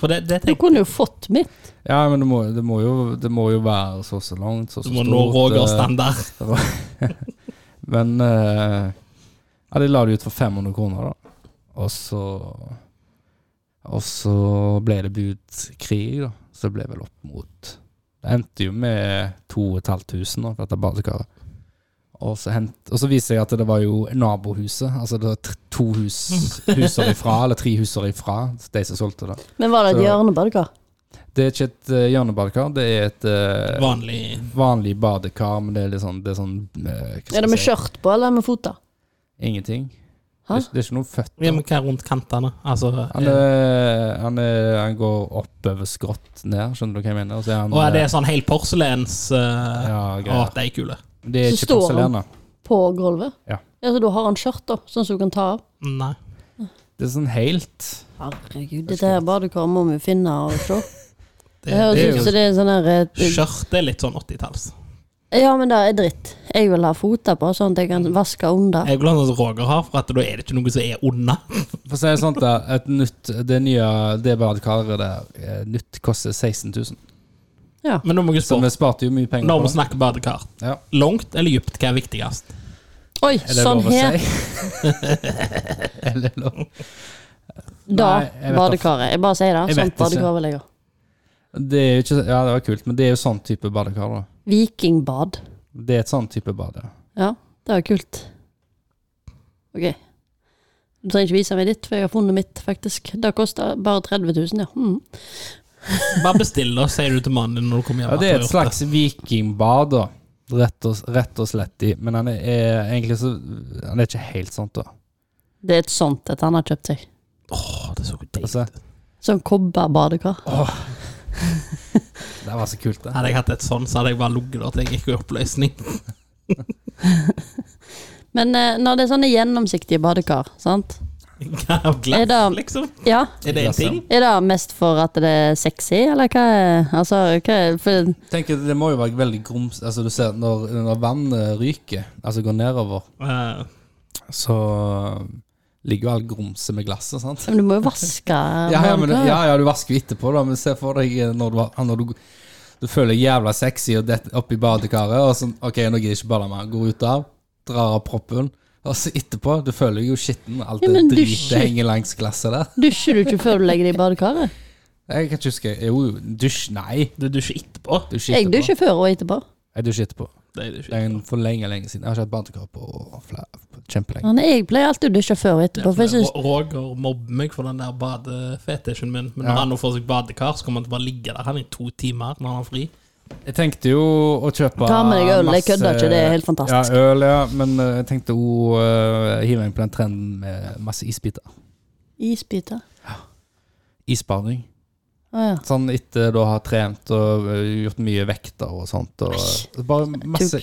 Speaker 1: for det, det
Speaker 3: Du
Speaker 1: tenker
Speaker 3: kunne jo fått mitt.
Speaker 2: Ja, men det må, det må, jo, det må jo være så og så langt, så
Speaker 1: du
Speaker 2: og så
Speaker 1: må
Speaker 2: stort.
Speaker 1: nå Rogers
Speaker 2: eh,
Speaker 1: standard.
Speaker 2: Men eh, Ja, de la det ut for 500 kroner, da. Og så Og så ble det budkrig, da. Så det ble vel opp mot Det endte jo med 2500 for dette badekaret. Og så, hent, og så viser jeg at det var jo nabohuset. Altså det var tr- to hus, huser ifra, eller tre huser ifra de som solgte det.
Speaker 3: Men var det et
Speaker 2: Så-
Speaker 3: hjørnebadekar?
Speaker 2: Det er ikke et eh, hjørnebadekar, det er et eh,
Speaker 1: Vanlig
Speaker 2: vanlig badekar, men det er litt sånn, det er sånn eh, hva skal
Speaker 3: Er det
Speaker 2: jeg
Speaker 3: med
Speaker 2: si?
Speaker 3: skjørt på, eller med føtter?
Speaker 2: Ingenting. Det
Speaker 3: Hæ?
Speaker 2: er, ikke- det er ikke noen
Speaker 1: ja,
Speaker 2: føtter.
Speaker 1: men Hva er rundt kantene? Altså,
Speaker 2: Han, er, han, er, han går oppover skrått ned, skjønner du hva jeg mener? Og så er han
Speaker 1: og er det
Speaker 2: eh,
Speaker 1: sånn helt porselens eh,
Speaker 2: ja,
Speaker 1: Å,
Speaker 2: greier.
Speaker 1: de er kule.
Speaker 2: Det eh, er
Speaker 3: Så
Speaker 2: ikke
Speaker 3: står han.
Speaker 2: porselen, da.
Speaker 3: På gulvet?
Speaker 2: Ja.
Speaker 3: så da har han skjørt, da, sånn som du kan ta av?
Speaker 1: Nei.
Speaker 2: Det er sånn helt
Speaker 3: Herregud, dette her badekaret må vi finne og se.
Speaker 1: Det,
Speaker 3: Det høres
Speaker 1: det
Speaker 3: ut
Speaker 1: er
Speaker 3: som
Speaker 1: jo
Speaker 3: det er sånn her eh,
Speaker 1: Skjørt er litt sånn 80-talls.
Speaker 3: Ja, men det er dritt. Jeg vil ha føtter på, sånn at jeg kan vaske under.
Speaker 1: Jeg vil ha sånn som Roger har, for at da er det ikke noe som er unna.
Speaker 2: For å si det sånn, da. Et nytt, det nye det badekaret der, eh, nytt koster 16 000.
Speaker 3: Ja.
Speaker 1: Men nå må jeg
Speaker 2: Så
Speaker 1: spørre,
Speaker 2: vi sparte jo mye penger
Speaker 1: når vi
Speaker 2: på det.
Speaker 1: snakker badekar,
Speaker 2: Ja.
Speaker 1: langt eller dypt, hva er viktigst?
Speaker 3: Oi,
Speaker 2: Er det
Speaker 3: sånn
Speaker 2: lov å
Speaker 3: her.
Speaker 2: si? er det lov?
Speaker 3: Da
Speaker 2: Nei, jeg vet da.
Speaker 3: badekaret. Jeg bare sier det.
Speaker 2: Jeg vet
Speaker 3: Sånt
Speaker 2: ikke.
Speaker 3: badekar vil jeg ha.
Speaker 2: Det er jo ikke, ja, det var kult, men det er jo sånn type badekar, da.
Speaker 3: Vikingbad.
Speaker 2: Det er et sånn type bad, ja.
Speaker 3: Ja, det var kult. Ok. Du trenger ikke vise meg ditt, for jeg har funnet mitt, faktisk. Det kosta bare 30 000, ja. Mm.
Speaker 1: Bare bestill det, sier du til mannen din når du kommer hjem.
Speaker 2: ja. Det
Speaker 1: at
Speaker 2: er
Speaker 1: du har
Speaker 2: et
Speaker 1: gjort
Speaker 2: slags vikingbad, da. Rett og, rett og slett i Men han er, er egentlig så Han er ikke helt sånn, da.
Speaker 3: Det er et sånt et han har kjøpt seg.
Speaker 1: Åh, det er så deilig.
Speaker 2: Altså,
Speaker 3: Sånn kobberbadekar.
Speaker 2: det var så kult, det.
Speaker 1: Hadde jeg hatt et sånt, så hadde jeg bare ligget der til jeg gikk i oppløsning.
Speaker 3: Men eh, når det er sånne gjennomsiktige badekar, sant
Speaker 1: Hva er glass,
Speaker 3: Er det-
Speaker 1: liksom?
Speaker 3: Ja.
Speaker 1: Er det en
Speaker 2: Glass, ja.
Speaker 1: ting?
Speaker 3: Er det mest for at det er sexy, eller hva er Altså, hva er for,
Speaker 2: Tenker, det må jo være veldig grums Altså du ser når, når vannet ryker, altså går nedover,
Speaker 1: Eh,
Speaker 2: så ligger jo all grumset med glasset, sant?
Speaker 3: Men du må jo vaske
Speaker 2: Ja ja, men,
Speaker 3: badekaret.
Speaker 2: ja, ja, du vasker jo etterpå, da, men se for deg eh, når du, har- når du, du føler deg jævla sexy og detter oppi badekaret, og sånn OK, nå gidder jeg ikke bade mer. Går ut av, drar av proppen, og så etterpå Du føler deg jo skitten. Alt
Speaker 3: Ja,
Speaker 2: det
Speaker 3: men
Speaker 2: dritet
Speaker 3: dusj-
Speaker 2: henger langs glasset der.
Speaker 3: Dusjer du ikke før du legger det i badekaret?
Speaker 2: Jeg kan ikke huske Jo, dusj Nei,
Speaker 1: du dusjer etterpå?
Speaker 2: dusj
Speaker 3: Jeg
Speaker 2: etterpå.
Speaker 3: dusjer før og etterpå.
Speaker 2: Jeg dusjer etterpå.
Speaker 1: Det er du
Speaker 2: Det
Speaker 1: ikke.
Speaker 2: er en for lenge, lenge siden. Jeg har ikke hatt badekar på flere- på kjempelenge.
Speaker 3: Ja, nei, jeg pleier alltid å dusje før og etterpå, for jeg syns
Speaker 1: Ro- Roger mobber meg for den der badefetisjen min, men når
Speaker 2: Ja.
Speaker 1: han nå får seg badekar, så kommer han til å bare ligge der han i to timer når han har fri.
Speaker 2: Jeg tenkte jo å kjøpe
Speaker 3: Ta med deg øl, jeg
Speaker 2: masse-
Speaker 3: kødder ikke, det er helt fantastisk.
Speaker 2: Ja, øl, ja, men eh, jeg tenkte å eh, hive meg på den trenden med masse isbiter.
Speaker 3: Isbiter.
Speaker 2: Isbading.
Speaker 3: Å ja.
Speaker 2: Sånn etter da har trent og eh, gjort mye vekter og sånt. Og,
Speaker 3: Æsj.
Speaker 2: bare masse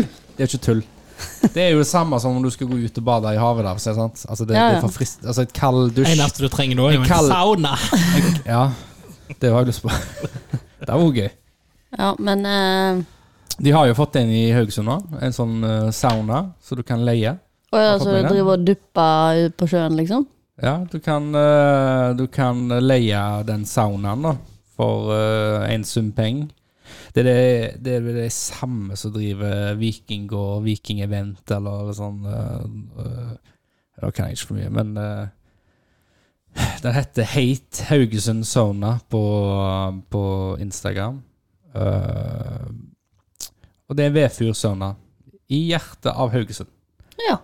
Speaker 2: Tull! Det er ikke tull. Det er jo det samme som om du skal gå ut og bade i havet der. så er det Sant? Altså, det,
Speaker 3: Ja,
Speaker 2: det
Speaker 3: ja.
Speaker 2: er for frist, altså et kald dusj.
Speaker 1: Eneste du trenger da, er jo
Speaker 2: En
Speaker 1: en
Speaker 2: kald-
Speaker 1: sauna.
Speaker 2: Ja, det har jeg lyst på. Det var jo gøy.
Speaker 3: Ja, men eh,
Speaker 2: De har jo fått en i Haugesund nå. En sånn eh, sauna som du kan leie.
Speaker 3: Å ja,
Speaker 2: Hva
Speaker 3: så
Speaker 2: mener
Speaker 3: du
Speaker 2: du?
Speaker 3: driver og dupper ut på sjøen, liksom?
Speaker 2: Ja, du kan, eh, du kan leie den saunaen da, for eh, en sum penger. Det er det, det er vel det samme som driver vikinggård, vikingevent eller sånn eh, eh, Da kan jeg ikke for mye, men eh, den heter Hate Haugesund Sauna på, på Instagram. Eh, og det er en vedfyrsauna i hjertet av Haugesund.
Speaker 3: Ja.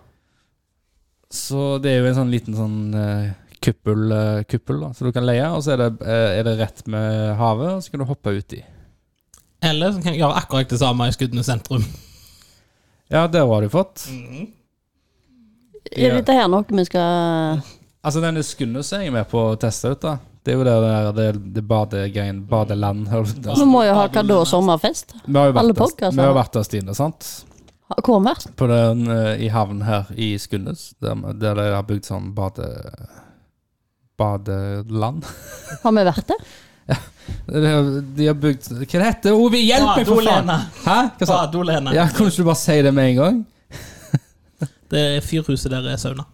Speaker 2: Så det er jo en sånn liten sånn eh, kuppel, eh, kuppel da, som du kan leie, og så er det, eh, er det rett med havet, og så kan du hoppe uti.
Speaker 1: Eller så kan jeg gjøre akkurat det samme i Skuddene sentrum.
Speaker 2: Ja, der har du fått.
Speaker 3: Er dette her noe vi skal
Speaker 2: Altså, denne Skunnus er jeg med på å teste ut, da. Det er jo det der det, det badegreien, badeland. holdt jeg på å
Speaker 3: Vi
Speaker 2: si.
Speaker 3: må jo ha hva da, sommerfest?
Speaker 2: Vi har jo
Speaker 3: Alle
Speaker 2: vært der-
Speaker 3: podcaster.
Speaker 2: vi har vært der, Stine, sant?
Speaker 3: Ha- Hvor har vi vært?
Speaker 2: På den, eh, I havnen her i Skunnus, der, der de har bygd sånn bade... Badeland.
Speaker 3: Har vi vært der?
Speaker 2: De har- de har bygd Hva det heter det? Ove, hjelp meg, for faen!
Speaker 1: Badolene.
Speaker 2: Hæ? Hva sa
Speaker 1: Badolene.
Speaker 2: Ja, Kunne ikke du bare si det med en gang?
Speaker 1: Det fyrhuset der er sauna.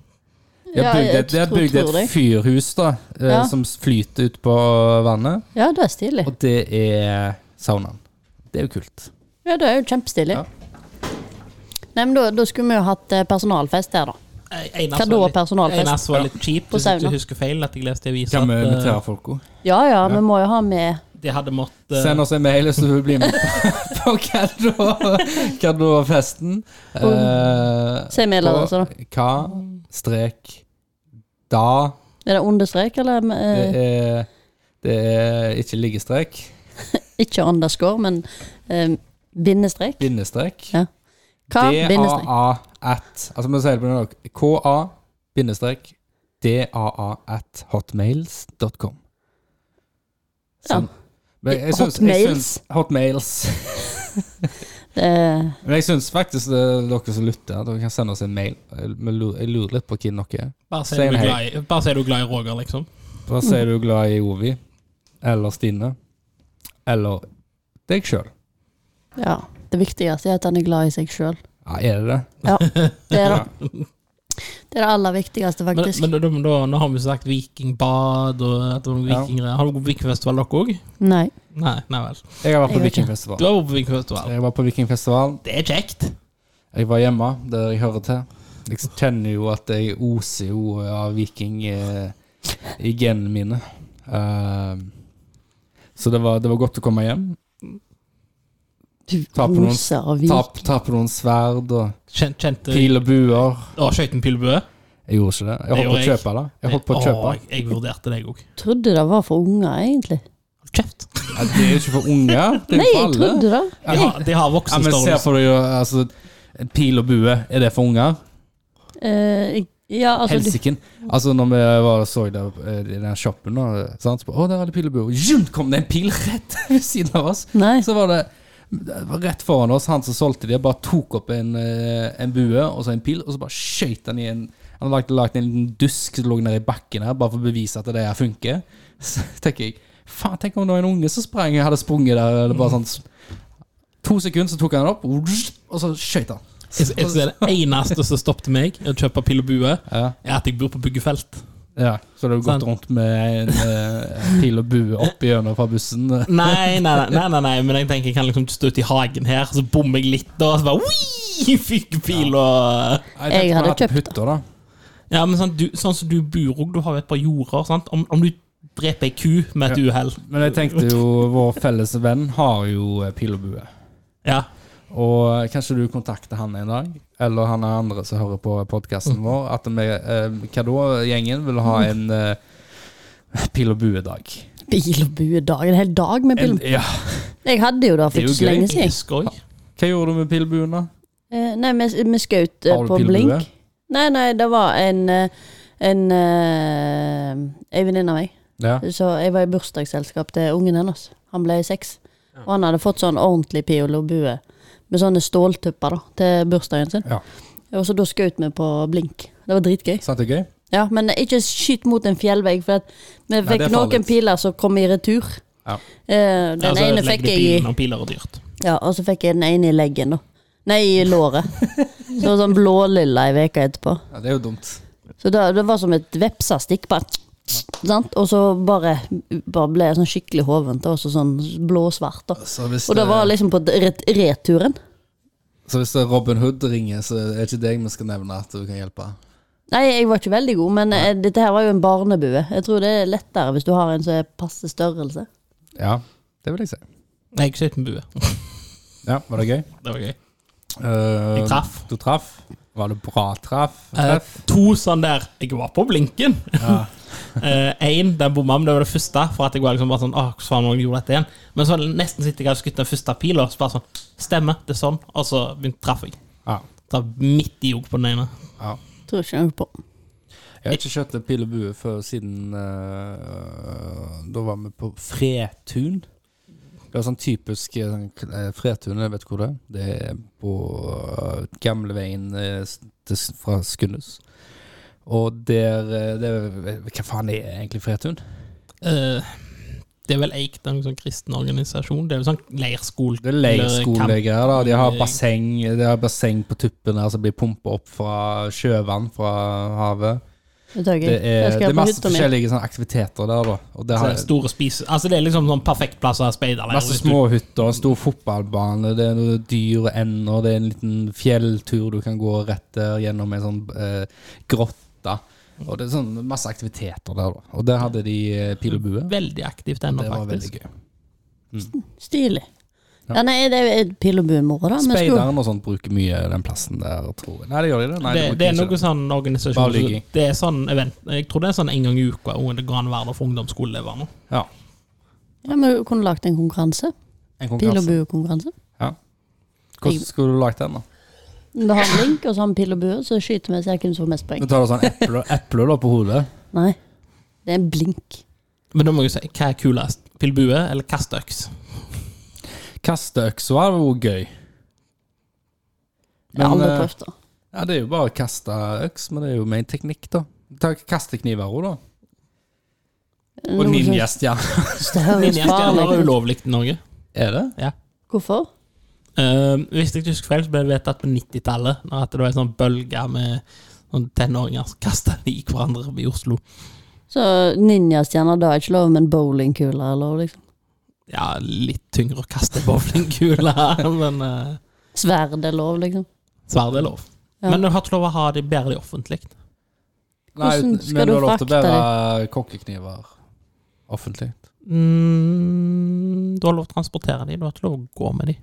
Speaker 2: De har bygd et, de har
Speaker 3: tror-
Speaker 2: bygd
Speaker 3: tror
Speaker 2: et
Speaker 3: deg.
Speaker 2: fyrhus da, eh,
Speaker 3: Ja.
Speaker 2: som flyter ut på vannet,
Speaker 3: Ja, det er stilig.
Speaker 2: og det er saunaen. Det er jo kult.
Speaker 3: Ja, det er jo kjempestilig.
Speaker 2: Ja.
Speaker 3: Nei, men da, da skulle vi jo hatt eh, personalfest der, da.
Speaker 1: Hva
Speaker 3: Hva da, personalfest?
Speaker 1: Einas var litt kjip,
Speaker 3: På
Speaker 1: hvis jeg
Speaker 3: sauna.
Speaker 1: ikke husker feil. At jeg leste i avisa
Speaker 2: Kan vi
Speaker 1: at, eh,
Speaker 2: invitere folk òg?
Speaker 3: Ja ja, vi må jo ha med
Speaker 1: De hadde måttet eh,
Speaker 2: Send oss en mail hvis du vil bli med på, på Kadro-festen.
Speaker 3: Si mail altså, da.
Speaker 2: Eh, Hva strek da
Speaker 3: Er det understrek, eller
Speaker 2: Det
Speaker 3: eh,
Speaker 2: er, det er ikke liggestrek,
Speaker 3: ikke underscore, men eh, bindestrek?
Speaker 2: bindestrek.
Speaker 3: Ja. Hva? Bindestrek.
Speaker 2: DAA at Altså, vi sier det på norsk. KA bindestrek DAA at hotmails.com. Sånn. Men jeg syns- jeg syns- Hotmails.
Speaker 3: Eh,
Speaker 2: Men jeg syns faktisk det er dere som lytter, dere kan sende oss en mail. Jeg lurer jeg lurer litt på hvem dere er.
Speaker 1: Bare si
Speaker 2: Same
Speaker 1: du, er
Speaker 2: here.
Speaker 1: glad i- bare si du er glad i Roger, liksom.
Speaker 2: Hva
Speaker 3: Mm.
Speaker 2: sier du glad i Ovi? Eller Stine? Eller deg sjøl?
Speaker 3: ja. Det viktigste er at han er glad i seg sjøl.
Speaker 2: Ja, er det det?
Speaker 3: Det er det, det, er det aller viktigste,
Speaker 1: Men,
Speaker 3: faktisk.
Speaker 1: men da, da, nå har vi jo sagt vikingbad og at det var noen
Speaker 2: Ja.
Speaker 1: vikinggreier. Har dere gått på vikingfestival, dere òg?
Speaker 3: Nei.
Speaker 1: Nei, nei vel.
Speaker 2: Jeg har vært på
Speaker 3: Jeg vet ikke.
Speaker 1: Du
Speaker 2: vikingfestival.
Speaker 1: har vært på vikingfestival.
Speaker 2: Jeg var på vikingfestival.
Speaker 1: Det er kjekt.
Speaker 2: Jeg var hjemme, der jeg hører til.
Speaker 3: Liksom.
Speaker 2: Jeg kjenner jo at jeg oser jo av viking eh, i genene mine. Eh, så det var, det var godt å komme hjem.
Speaker 3: Du
Speaker 2: Ta på noen-
Speaker 3: roser og vik.
Speaker 2: Ta ta på noen sverd og
Speaker 1: Kjent, kjente
Speaker 2: pil og buer.
Speaker 1: Å, skøyt en pilbue?
Speaker 2: Jeg gjorde ikke det. Jeg
Speaker 1: gjorde
Speaker 2: holdt på å
Speaker 1: jeg.
Speaker 2: kjøpe det. Jeg holdt på å
Speaker 1: Å,
Speaker 2: kjøpe
Speaker 1: jeg, jeg vurderte deg òg.
Speaker 3: Trodde det var for unger, egentlig.
Speaker 1: Kjeft.
Speaker 2: Ja, Det er jo ikke for unger. Det er
Speaker 3: Nei,
Speaker 2: jo
Speaker 3: jeg
Speaker 2: for alle.
Speaker 3: trodde det.
Speaker 1: De har, de har
Speaker 2: Ja, men se
Speaker 1: voksenstørrelse.
Speaker 2: for deg jo, altså, pil og bue. Er det for unger?
Speaker 3: Eh, jeg- ja, altså du,
Speaker 2: Helsiken. Altså, når vi var og så det eh, i den shoppen, og, sant? Så, bare, å, der er det pil og bue. Og Jum, kom det en pil rett ved siden av oss.
Speaker 3: Nei.
Speaker 2: Så var det det var rett foran oss, han som solgte det, bare tok opp en, eh, en bue og så en pil, og så bare skjøt han i en Han hadde lagt, lagt en liten dusk som lå nede i bakken her, bare for å bevise at det her funker. Så tenker jeg Faen, tenk om det var en unge som sprang hadde sprunget der, eller bare sånn To sekunder, så tok han den opp, og så skjøt han.
Speaker 1: Jeg, jeg, ser det eneste som stoppet meg i å kjøpe pil og bue,
Speaker 2: Ja,
Speaker 1: er at jeg bor på byggefelt.
Speaker 2: ja. Så det har
Speaker 1: Sant.
Speaker 2: gått rundt med en eh, pil og bue opp gjennom fra bussen.
Speaker 1: Nei, nei, nei, nei, nei, nei, men jeg tenker jeg kan liksom stå ute i hagen her, så bommer jeg litt, og så bare «Oi!» Fikk pil og
Speaker 3: Jeg hadde kjøpt det.
Speaker 2: hytter, da.
Speaker 1: Ja, men sånn, du, sånn som du bor òg, du har jo et par jorder. Sant? Om, om du dreper ei ku med et uhell
Speaker 2: Men jeg tenkte jo, vår felles venn har jo eh, pil og bue.
Speaker 1: ja.
Speaker 2: Og kanskje du kontakter han en dag, eller han er andre som hører på podkasten vår, at vi, eh, hva da, gjengen, vil ha en eh, pil og bue-dag.
Speaker 3: Bil og bue dag. En hel dag med bil.
Speaker 2: En- Ja.
Speaker 3: Jeg hadde jo det for
Speaker 2: Det er jo
Speaker 3: ikke så
Speaker 2: gøy.
Speaker 3: lenge
Speaker 1: Jeg
Speaker 3: siden.
Speaker 1: husker òg.
Speaker 2: Hva gjorde du med pil og buen, da?
Speaker 3: Eh, nei, vi, vi skjøt eh,
Speaker 2: Har du
Speaker 3: på
Speaker 2: pil og
Speaker 3: blink.
Speaker 2: bue?
Speaker 3: Nei, nei, det var en eh, En eh, Ei venninne av meg.
Speaker 2: Ja.
Speaker 3: Så jeg var i bursdagsselskap til ungen hennes. Han ble seks. Og han hadde fått sånn ordentlig pil og bue med sånne ståltupper da, til bursdagen sin.
Speaker 2: Ja.
Speaker 3: Og så da skjøt vi på blink. Det var dritgøy.
Speaker 2: Sant det er gøy?
Speaker 3: Ja, Men ikke skyt mot en fjellvegg, for at vi
Speaker 2: det
Speaker 3: fikk
Speaker 2: er farlig.
Speaker 3: noen piler som kom i retur.
Speaker 2: Ja.
Speaker 3: Eh, den
Speaker 1: Altså,
Speaker 3: ene
Speaker 1: legger
Speaker 3: fikk
Speaker 1: du
Speaker 3: jeg i
Speaker 1: pilen, og piler er dyrt.
Speaker 3: ja, og så fikk jeg den ene i leggen, da. Nei, i låret. Så sånn blålilla ei uke etterpå.
Speaker 2: Ja, det er jo dumt.
Speaker 3: Så det, det var som et vepsastikk. Bare, sant? Og så bare, bare ble jeg sånn skikkelig hoven til også sånn blåsvart. da.
Speaker 2: Så hvis,
Speaker 3: Og det var liksom på ret returen.
Speaker 2: så hvis det er Robin Hood ringer, så er det ikke deg vi skal nevne at du kan hjelpe.
Speaker 3: Nei, jeg var ikke veldig god, men eh, dette her var jo en barnebue. Jeg tror det er lettere hvis du har en som er passe størrelse.
Speaker 2: Ja, det vil jeg si.
Speaker 1: Nei, jeg skjøt med bue.
Speaker 2: Ja, Var det gøy?
Speaker 1: Det var gøy.
Speaker 2: Eh,
Speaker 1: Jeg traff.
Speaker 2: Du traff? Var det bra traff?
Speaker 1: Eh,
Speaker 2: Treff?
Speaker 1: to sånn der Jeg var på blinken.
Speaker 2: Ja.
Speaker 1: Én, den bomma, men det var det første. For at jeg var liksom bare sånn Åh, hvordan faen var det jeg gjorde dette igjen? Men så nesten sitter jeg og skutt den første pila, og så bare sånn Stemmer, det er sånn. Og så begynte traff jeg.
Speaker 2: ja.
Speaker 1: Traff midt i jog på den ene.
Speaker 2: ja.
Speaker 3: Tror ikke noe på.
Speaker 2: Jeg har ikke kjøpt en pil og bue før siden eh, Da var vi på Fretun. Det er sånn typisk eh, sånn, eh, Fretun, jeg vet hvor det er. Det er på eh, gamleveien eh, s- til s- fra Skundes. Og der eh, det, er- Hva faen er egentlig Fretun?
Speaker 1: Eh, det er vel Eik, det er en sånn kristen organisasjon. Det er jo sånn leirskole
Speaker 2: Det er leirskolegreier. da. De har
Speaker 3: eh,
Speaker 1: Kamp-
Speaker 2: basseng De har basseng på tuppen der som blir pumpa opp fra sjøvann fra havet.
Speaker 3: Det er,
Speaker 2: Det
Speaker 3: jeg
Speaker 2: er,
Speaker 3: skal
Speaker 2: det er
Speaker 3: på
Speaker 2: masse
Speaker 3: hytta mi.
Speaker 2: forskjellige sånne aktiviteter der, da. Og det
Speaker 1: Så
Speaker 2: har,
Speaker 1: det er store spise... Altså, det er liksom sånn perfekt plass å ha speiderleir.
Speaker 2: Masse
Speaker 1: hvis du-
Speaker 2: småhytter, en stor fotballbane, det er noen dyr og ender, det er en liten fjelltur du kan gå rett der gjennom en sånn eh, grotte. Og det er sånn masse aktiviteter der, da. Og der hadde de eh, pil og bue.
Speaker 1: Veldig aktivt ennå,
Speaker 2: Det var veldig
Speaker 1: faktisk.
Speaker 2: gøy.
Speaker 3: Stilig.
Speaker 2: Ja.
Speaker 3: Ja, nei, det er pil og bue-moro, da. men skulle-
Speaker 2: Speideren og sånt bruker mye den plassen der, tror jeg. Nei, det gjør de det. Nei,
Speaker 1: det,
Speaker 2: de bruker
Speaker 1: det er
Speaker 2: ikke
Speaker 1: noe sånn
Speaker 2: Bare
Speaker 1: organisasjon
Speaker 2: lygging.
Speaker 1: Det er sånn event. Jeg tror det er sånn en gang i uka. Og det går an å være der for ungdomsskoleelever nå.
Speaker 2: Ja.
Speaker 3: Ja, men du kunne lagt en konkurranse.
Speaker 2: En
Speaker 3: Pil og
Speaker 2: konkurranse.
Speaker 3: bue-konkurranse.
Speaker 2: Hvordan skulle du lagt den, da?
Speaker 3: Vi har en link, og så har vi pil og bue, så skyter vi og ser hvem som får mest
Speaker 2: Du
Speaker 3: poeng.
Speaker 2: tar du sånn eple, eple da på hodet.
Speaker 3: Nei, det er en blink.
Speaker 1: Men da må jeg jo si, hva er kulest? Pilbue eller kasteøks?
Speaker 2: Kasteøksa var jo gøy.
Speaker 3: Jeg
Speaker 2: Men,
Speaker 3: har aldri
Speaker 2: eh,
Speaker 3: prøvd det.
Speaker 2: Ja, det er jo bare å kaste øks, men det er jo med en teknikk, da. Ta kastekniver òg, da.
Speaker 3: Mm,
Speaker 2: Og ninjastjerne.
Speaker 3: Det høres
Speaker 1: Ninjastjerner er
Speaker 3: farlig ut.
Speaker 1: ulovlig i Norge.
Speaker 2: Er det?
Speaker 3: Hvorfor?
Speaker 1: Eh, hvis jeg ikke husker feil, så ble det vedtatt på 90-tallet. når At det var en sånn bølge med sånn tenåringer som kasta i hverandre i Oslo.
Speaker 3: Så ninjastjerner da er ikke lov, men bowlingkuler er lov, liksom.
Speaker 1: Ja, litt tyngre å kaste bowlingkuler, men uh,
Speaker 3: Sverd er lov, liksom.
Speaker 1: sverd er lov.
Speaker 3: Ja.
Speaker 1: Men du har ikke lov å ha de bære de offentlig.
Speaker 3: Hvordan
Speaker 2: Nei,
Speaker 3: skal
Speaker 2: men du
Speaker 3: du
Speaker 2: har lov til å
Speaker 3: frakte
Speaker 2: bære kokkekniver offentlig.
Speaker 1: Mm, du har lov å transportere de, du har ikke lov å gå med de.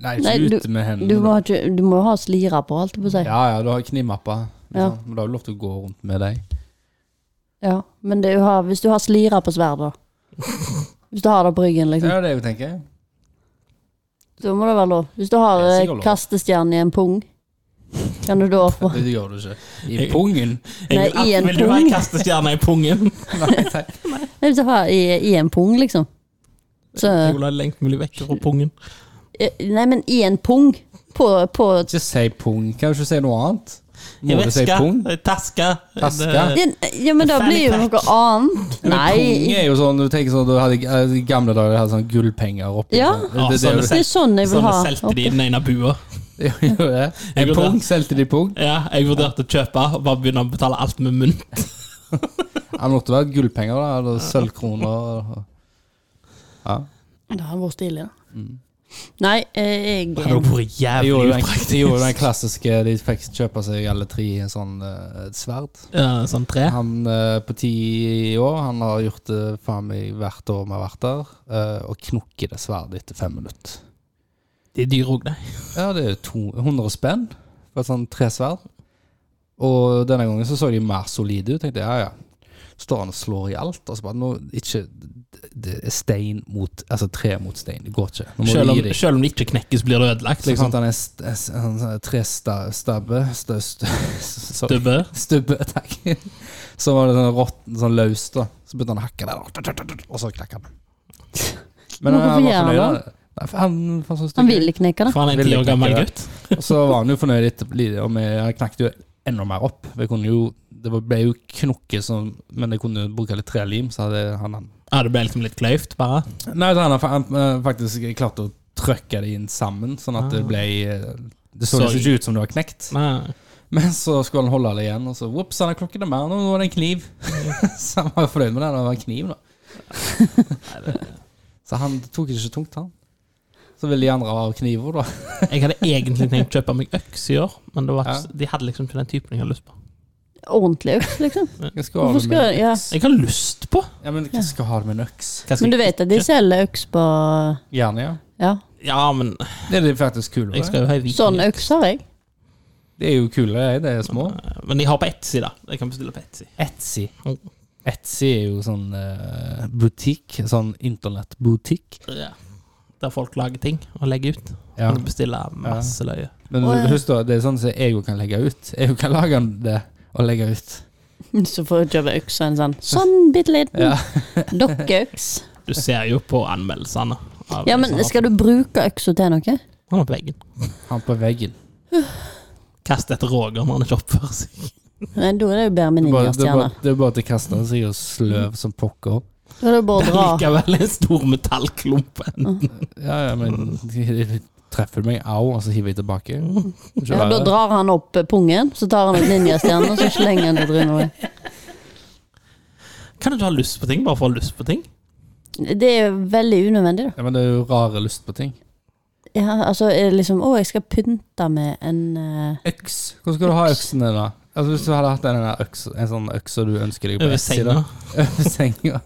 Speaker 2: Nei,
Speaker 3: Nei,
Speaker 2: ikke ute med
Speaker 3: Du
Speaker 2: hendene.
Speaker 3: må, ha ikke, du må ha slira på, holdt jeg på å si. Ja.
Speaker 2: Ja, ja, du har knivmappa.
Speaker 3: Ja.
Speaker 2: Liksom. Men da har du lov til å gå rundt med deg.
Speaker 3: Men det, du har, hvis du har slira på sverdet, da. Hvis du har det på ryggen,
Speaker 2: Det
Speaker 3: liksom.
Speaker 2: er jo det jeg tenker.
Speaker 3: Da må det være lov. Hvis du har
Speaker 2: Det er
Speaker 3: eh,
Speaker 2: sikkert lov.
Speaker 3: kastestjerne i en pung, kan du da få
Speaker 2: Det gjør du ikke. I
Speaker 1: Jeg-
Speaker 2: pungen.
Speaker 3: Nei, i en
Speaker 1: vil du ha
Speaker 3: pung.
Speaker 1: en kastestjerne i pungen?
Speaker 2: Nei, nei.
Speaker 3: Nei, hvis du har i, i en pung, liksom. Så,
Speaker 1: Jeg vil ha lengt mulig vekk fra pungen.
Speaker 3: eh, nei, men i en pung. På, på
Speaker 2: Ikke si pung. Kan du ikke si noe annet?
Speaker 1: I
Speaker 2: Må du si
Speaker 1: veska,
Speaker 2: pung?
Speaker 1: i Eh, taska. Eh,
Speaker 2: Taska.
Speaker 1: det-
Speaker 3: Ja, men da blir jo noe annet.
Speaker 2: Men Pung
Speaker 3: Nei.
Speaker 2: er jo sånn, du tenker sånn, du hadde, eh, I gamle dager hadde sånn gullpenger oppi
Speaker 3: Ja.
Speaker 2: sånn.
Speaker 1: Ja,
Speaker 2: det,
Speaker 1: sånn
Speaker 2: det,
Speaker 3: Det er sånn jeg vil
Speaker 1: Sånn
Speaker 3: ha.
Speaker 1: solgte de den ene bua.
Speaker 2: det, det, det, det.
Speaker 1: Jeg
Speaker 2: En
Speaker 1: burde-
Speaker 2: pung? Solgte de pung?
Speaker 1: Ja, jeg vurderte å kjøpe og bare begynne å betale alt med munn.
Speaker 2: Han måtte være gullpenger, da, eller sølvkroner. eller- Ja.
Speaker 3: Det hadde vært stilig, da.
Speaker 2: Mm.
Speaker 3: Nei, eh,
Speaker 1: Det hadde
Speaker 3: jeg
Speaker 1: vært
Speaker 2: Jeg
Speaker 1: jævlig
Speaker 2: gjorde, den,
Speaker 1: upraktisk.
Speaker 2: jeg gjorde den klassiske De fikk kjøpe seg alle tre en sånn eh, et sverd.
Speaker 1: Ja, sånn tre.
Speaker 2: Han eh, på ti år Han har gjort det faen meg hvert år vi har vært der, eh, og knokker det sverdet etter fem minutter.
Speaker 1: De er dyre òg, de.
Speaker 2: Ja, det er to, 100 spenn for et sånn tresverd. Og denne gangen så så de mer solide ut. Tenkte jeg, ja ja. Står han og slår i alt? Og så bare, nå, ikke, det er stein mot Altså tre mot stein. Det går ikke. Nå må
Speaker 1: Selv
Speaker 2: du
Speaker 1: om,
Speaker 2: gi deg.
Speaker 1: selv om det ikke knekkes, blir det ødelagt.
Speaker 2: Så
Speaker 1: Liksom.
Speaker 2: fant sånn han en, st en, s- en sånn trestabbe stø- stø- sorry.
Speaker 1: Stubbe.
Speaker 2: Stubbe, takk. Så var det sånn råtten, sånn løs, da. Så begynte han å hakke der, og så knakk han. Men eh,
Speaker 3: Men hvorfor
Speaker 2: han var
Speaker 3: gjør han
Speaker 2: fornøyd. da. Nei, for Han, for han syntes det
Speaker 3: Han
Speaker 2: var gøy.
Speaker 3: vil knekke det.
Speaker 1: For han er en
Speaker 2: Vil
Speaker 1: ti år
Speaker 2: ikke
Speaker 1: gammel
Speaker 2: knekke
Speaker 1: gutt.
Speaker 2: Og så var han jo fornøyd etter livet, og vi han knakk jo enda mer opp. Vi kunne jo, det var- ble jo knokke, sånn, men jeg kunne bruke litt trelim, så hadde han han.
Speaker 1: Ja, det ble liksom litt kløyvt, bare.
Speaker 2: Nei, så han har fa- han, eh, faktisk klart å trykke det inn sammen, sånn
Speaker 3: Ah.
Speaker 2: at det ble eh, Det så
Speaker 1: Sorry.
Speaker 2: nesten ikke ut som det var knekt.
Speaker 1: Nei.
Speaker 2: Men så skulle han holde det igjen, og så Ops, han har knokket det mer, nå var det en kniv. så han var jo fornøyd med det, det var en kniv, da. så han tok det ikke tungt, han. Så ville de andre ha kniver, da.
Speaker 1: eh, Jeg hadde egentlig tenkt å kjøpe meg øks i år, men det var ikke,
Speaker 2: Ja.
Speaker 1: de hadde liksom ikke den typen jeg hadde lyst på.
Speaker 3: Ordentlig, liksom.
Speaker 2: Hva skal ha
Speaker 3: Hvorfor
Speaker 2: det med
Speaker 3: skal ja.
Speaker 1: Jeg har lyst på!
Speaker 2: Ja, men hva skal ha det med en øks?
Speaker 1: Hva skal
Speaker 3: Men du
Speaker 1: jeg-
Speaker 3: vet at de selger øks på
Speaker 2: Gjerne, ja.
Speaker 3: Ja,
Speaker 1: Ja, men
Speaker 2: Det er det faktisk kule.
Speaker 1: jeg skal jo ha ei viking.
Speaker 3: sånn øks har jeg.
Speaker 2: Det er jo kule, jeg. Det er små.
Speaker 1: Men de har på Etsy, da. Jeg kan bestille på Etsy.
Speaker 2: Etsy. Etsy er jo sånn eh, butikk. Sånn internettbutikk.
Speaker 1: Ja. Der folk lager ting og legger ut.
Speaker 2: Ja.
Speaker 1: Kan du bestille masse løye.
Speaker 2: Men
Speaker 3: Å, ja.
Speaker 2: husk da, det er sånn som jeg jo kan legge ut. Jeg jo kan lage det og legge ut.
Speaker 3: Så får du kjøpe øks og en sånn sånn bitte liten
Speaker 2: Ja.
Speaker 3: dokkeøks.
Speaker 1: Du ser jo på anmeldelsene. av
Speaker 3: Ja,
Speaker 1: de
Speaker 3: men
Speaker 1: som har-
Speaker 3: skal du bruke øksa til noe?
Speaker 1: Han er på veggen.
Speaker 2: Han på veggen.
Speaker 1: Kast etter Roger når han ikke oppfører seg.
Speaker 3: Nei, da er det jo bedre med
Speaker 2: Det er bare, det er bare,
Speaker 3: ninjastjerner.
Speaker 2: det er bare til å kaste den, så er det jo sløv som pokker.
Speaker 3: Da er det bare
Speaker 1: Det
Speaker 3: å
Speaker 1: er
Speaker 3: dra.
Speaker 1: likevel en stor metallklump.
Speaker 2: Ja, ja, men treffer du meg, au, og så hiver jeg tilbake. Ikke
Speaker 3: Ja, da
Speaker 2: verre.
Speaker 3: drar han opp eh, pungen, så tar han ut ninjastjernen, og så slenger han det i trynet.
Speaker 1: Kan du ikke ha lyst på ting bare for å ha lyst på ting?
Speaker 3: Det er veldig unødvendig, da.
Speaker 2: Ja, men det er jo rare lyst på ting.
Speaker 3: Ja, altså er det liksom Å, jeg skal pynte med en eh,
Speaker 2: Øks. Hvor skal du ha øksene, da? Altså Hvis du hadde hatt en, der øks, en sånn økse du ønsker deg på
Speaker 1: Over
Speaker 2: Etsy,
Speaker 1: senga.
Speaker 2: da. Over senga.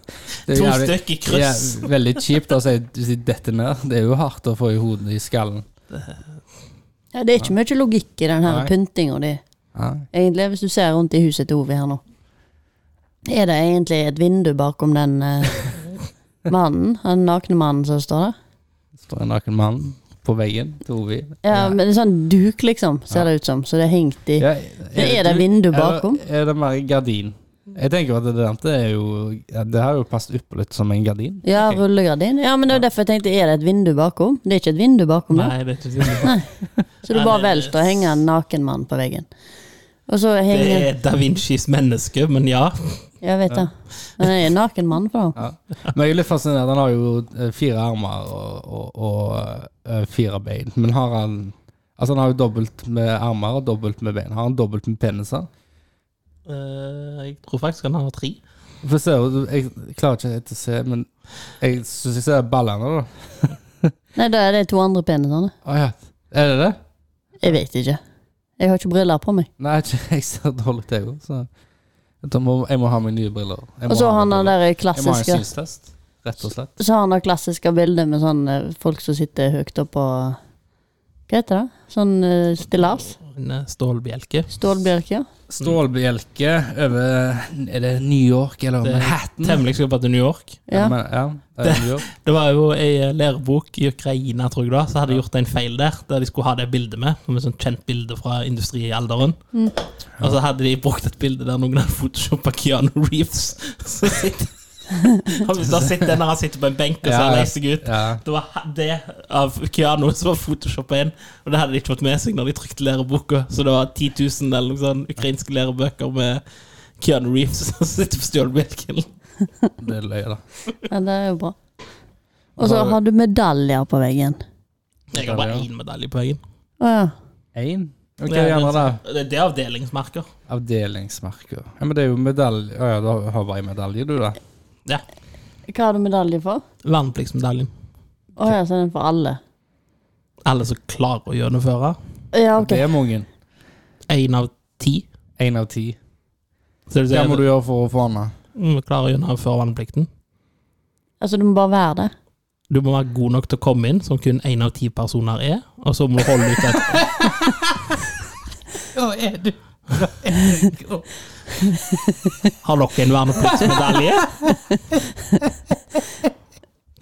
Speaker 2: Det er
Speaker 1: To
Speaker 2: jævlig-
Speaker 1: stykk i kryss.
Speaker 2: Ja, veldig kjipt å si si dette ned. Det er jo hardt å få i hodet i skallen.
Speaker 3: Ja, det er ikke mye logikk i den her
Speaker 2: Nei.
Speaker 3: pyntinga di,
Speaker 2: Ja.
Speaker 3: egentlig, hvis du ser rundt i huset til Ove her nå. Er det egentlig et vindu bakom den eh, mannen, den nakne mannen som står der?
Speaker 2: Det står en naken mann på veggen til Ovi.
Speaker 3: Ja, men det er sånn duk, liksom, ser det ut som. Så det er hengt i.
Speaker 2: Ja,
Speaker 3: Men er det vindu bakom?
Speaker 2: Eller er det mer gardin? Jeg tenker at det der det er jo ja, Det har jo passet opp litt som en gardin.
Speaker 3: Ja, rullegardin. Ja, men det er derfor jeg tenkte, er det et vindu bakom? Det er ikke et vindu bakom der.
Speaker 1: Nei, det er ikke det.
Speaker 3: Så du
Speaker 1: Nei,
Speaker 3: bare
Speaker 1: det-
Speaker 3: velter å henge en naken mann på veggen. Og så
Speaker 1: Det
Speaker 3: henger
Speaker 1: er Da Vincis menneske, men ja.
Speaker 3: Jeg vet det. Men det er en naken mann på den.
Speaker 2: Ja. Men jeg er litt fascinert. Han har jo eh, fire armer og, og, og eh, fire bein. Men har han Altså, han har jo dobbelt med armer og dobbelt med bein. Har han dobbelt med peniser?
Speaker 1: Eh, jeg tror faktisk han har tre.
Speaker 2: For se, jeg klarer ikke helt å se, men jeg syns jeg ser ballene, da.
Speaker 3: Nei, da er det to andre penisene.
Speaker 2: Å ja. Er det det?
Speaker 3: Jeg vet ikke. Jeg har ikke briller på meg.
Speaker 2: Nei, ikke, jeg ser dårlig til, jeg også, så jeg må, jeg må ha meg nye briller. Jeg
Speaker 3: Og
Speaker 2: må
Speaker 3: så
Speaker 2: ha
Speaker 3: har han
Speaker 2: meg
Speaker 3: den
Speaker 2: briller. Jeg må
Speaker 3: der
Speaker 2: ha en
Speaker 3: klassiske
Speaker 2: synstest, rett og slett.
Speaker 3: Så har han det klassiske bildet med sånn eh, folk som sitter høyt oppå Hva heter det? Sånn eh, stillas?
Speaker 1: En eh, stålbjelke.
Speaker 3: Stålbjørk, ja.
Speaker 2: Stålbjelke over Er det New York eller
Speaker 1: Det er
Speaker 2: Manhattan?
Speaker 1: eh, Temmelig sikker på at det er New York.
Speaker 3: ja.
Speaker 2: Men, ja, det er New York.
Speaker 1: Det var jo ei eh, lærebok i Ukraina, tror jeg det var, som hadde gjort en feil der, der de skulle ha det bildet med, som et sånt kjent bilde fra industrialderen. Og så hadde de brukt et bilde der noen hadde photoshoppa Keanu Reeves. Så sitter Har du da sett den når han sitter på en benk og ser
Speaker 2: Ja, ja.
Speaker 1: lei seg ut?
Speaker 2: Ja.
Speaker 1: Det var ha- det av Keanu som var photoshoppa inn, og det hadde de ikke fått med seg når de trykte læreboka, så det var 10 000 eller noe sånn ukrainske lærebøker med Keanu Reeves som sitter på stjålbjelken.
Speaker 2: Det er løye, da.
Speaker 3: ja. Det er jo bra. Og så har du medaljer på veggen.
Speaker 1: Jeg har bare én medalje på veggen.
Speaker 3: Å ja.
Speaker 2: Én? Hva
Speaker 1: Ja,
Speaker 2: er de andre, da?
Speaker 1: Det, det er avdelingsmerker.
Speaker 2: Avdelingsmerker. Ja, men det er jo medalje Å ja, du har- har bare en medalje, du, da?
Speaker 1: Ja.
Speaker 3: Hva har du medalje for?
Speaker 1: Vernepliktsmedaljen.
Speaker 3: Å ja, så er den for alle.
Speaker 1: Alle som klarer å gjennomføre.
Speaker 3: Ja, ok.
Speaker 2: Det er mange.
Speaker 1: Én av ti.
Speaker 2: Én av ti.
Speaker 1: Så det,
Speaker 2: Hva må
Speaker 1: du
Speaker 2: du gjøre for å få den?
Speaker 1: mm, klarer å gjennomføre verneplikten.
Speaker 3: Altså, du må bare være det.
Speaker 1: Du må være god nok til å komme inn, som kun én av ti personer er. Og så må du holde ut et
Speaker 2: Hva er du?
Speaker 1: Har dere en vernepliktsmedalje?